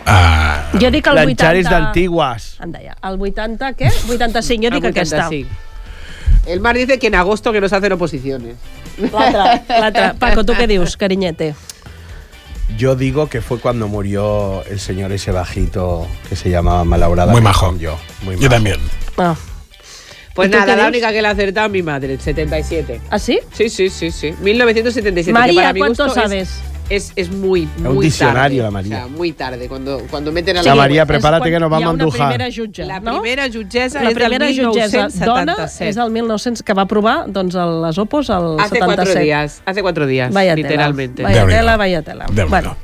J: Ah,
C: Jo dic el 80...
F: Planchares d'antiguas.
C: Em deia, el 80 què? 85, jo dic aquesta.
G: 85. El mar dice que en agosto que nos hacen oposiciones.
C: L'altra, l'altra.
G: *laughs*
C: Paco, tu què dius, carinyete?
F: Yo digo que fue cuando murió el señor ese bajito que se llamaba Malaurada.
J: Muy majo.
F: Yo, muy majo.
J: Yo también.
C: Ah,
G: Pues
C: ¿Y tú qué
G: nada, la
C: dices?
G: única que le ha acertado mi madre, el 77.
C: ah sí?
G: Sí, sí, sí, sí. 1977. que
C: Maria,
G: para mi
C: ¿cuánto
G: gusto es-
C: sabes?
G: Es, es muy, muy
F: un
G: tarde.
F: diccionario, la María.
G: O sea, muy tarde, cuando, cuando meten a
F: La
G: la
F: María,
C: És
F: prepárate
C: quan
F: que nos
C: hi ha
F: vamos a
C: una
F: embrujar.
C: primera jutge,
G: La
C: no?
G: primera jutgesa
C: La
G: és del
C: primera jutgessa dona
G: 1977.
C: és el 1900 que va provar doncs, el- les opos al
G: Hace
C: 77.
G: cuatro días, hace cuatro días,
C: Vaya tela.
G: literalmente.
C: Vaya
J: Déu-n'hi-do.
C: tela, vaya tela.
J: Déu-n'hi-do.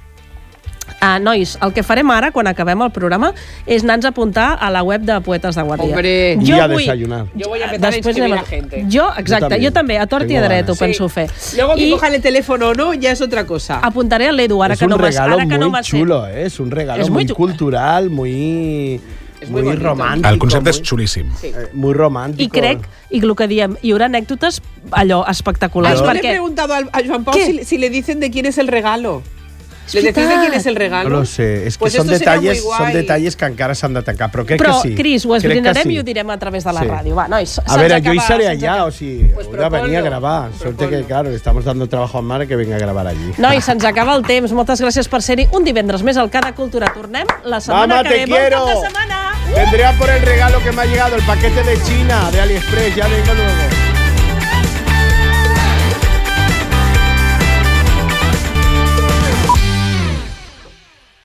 C: Ah, nois, el que farem ara, quan acabem el programa, és anar-nos a apuntar a la web de Poetes de Guàrdia.
G: Hombre.
F: I a desayunar.
G: Yo voy a empezar
C: Després
G: a inscribir
C: anem
G: a gente.
C: Jo, exacte,
F: també.
C: jo també, a tort i a
F: Tengo
C: dret ho
F: ganes.
C: penso fer.
G: Luego que
C: I
G: cojan el teléfono o no, ya es otra cosa.
C: apuntaré a l'Edu, ara
F: es
C: que
F: un
C: no me
F: regalo
C: ara que
F: muy
C: no me sé.
F: chulo, ¿eh? es un regalo
C: Es muy
F: muy,
C: chu-
F: cultural, muy,
G: Es muy
F: muy,
G: bonito.
F: romántico.
J: El concepte és
F: muy-
J: xulíssim. Sí.
F: eh, Muy romántico.
C: I crec, i el que diem, hi haurà anècdotes allò
G: Ah,
C: espectaculars,
G: yo le he
C: perquè...
G: preguntado al- a Joan Pau
C: ¿Qué?
G: si, si le dicen de quién es el regalo. ¿Le decís de
C: verdad.
G: quién es el regalo?
F: No lo sé, es que
G: Pues
F: son,
G: esto será muy
F: detalles,
G: guay.
F: son detalles que encara s'han de tancar, però crec
C: Però,
F: que sí.
C: Cris, pues ho
F: Crec que
C: esbrinarem
F: sí.
C: i ho direm a través de la
F: Sí.
C: ràdio. Va, nois,
F: A
C: se'ns
F: ver,
C: acaba,
F: yo iré
C: se'ns
F: allá, o si
G: Pues
F: hubiera venido a
G: proponlo,
F: grabar. Suerte que,
G: proponlo.
F: claro, le estamos dando trabajo a Mara que venga a grabar allí.
C: Nois, se'ns acaba el temps. Moltes gràcies per ser-hi. Un divendres més al Cada Cultura. Tornem la setmana
F: Mama,
C: que pues, ve.
F: te
C: Bon
F: quiero.
C: cap de setmana!
F: Vendré a por el regalo que me ha llegado, el paquete de China, de AliExpress, ya vengo luego.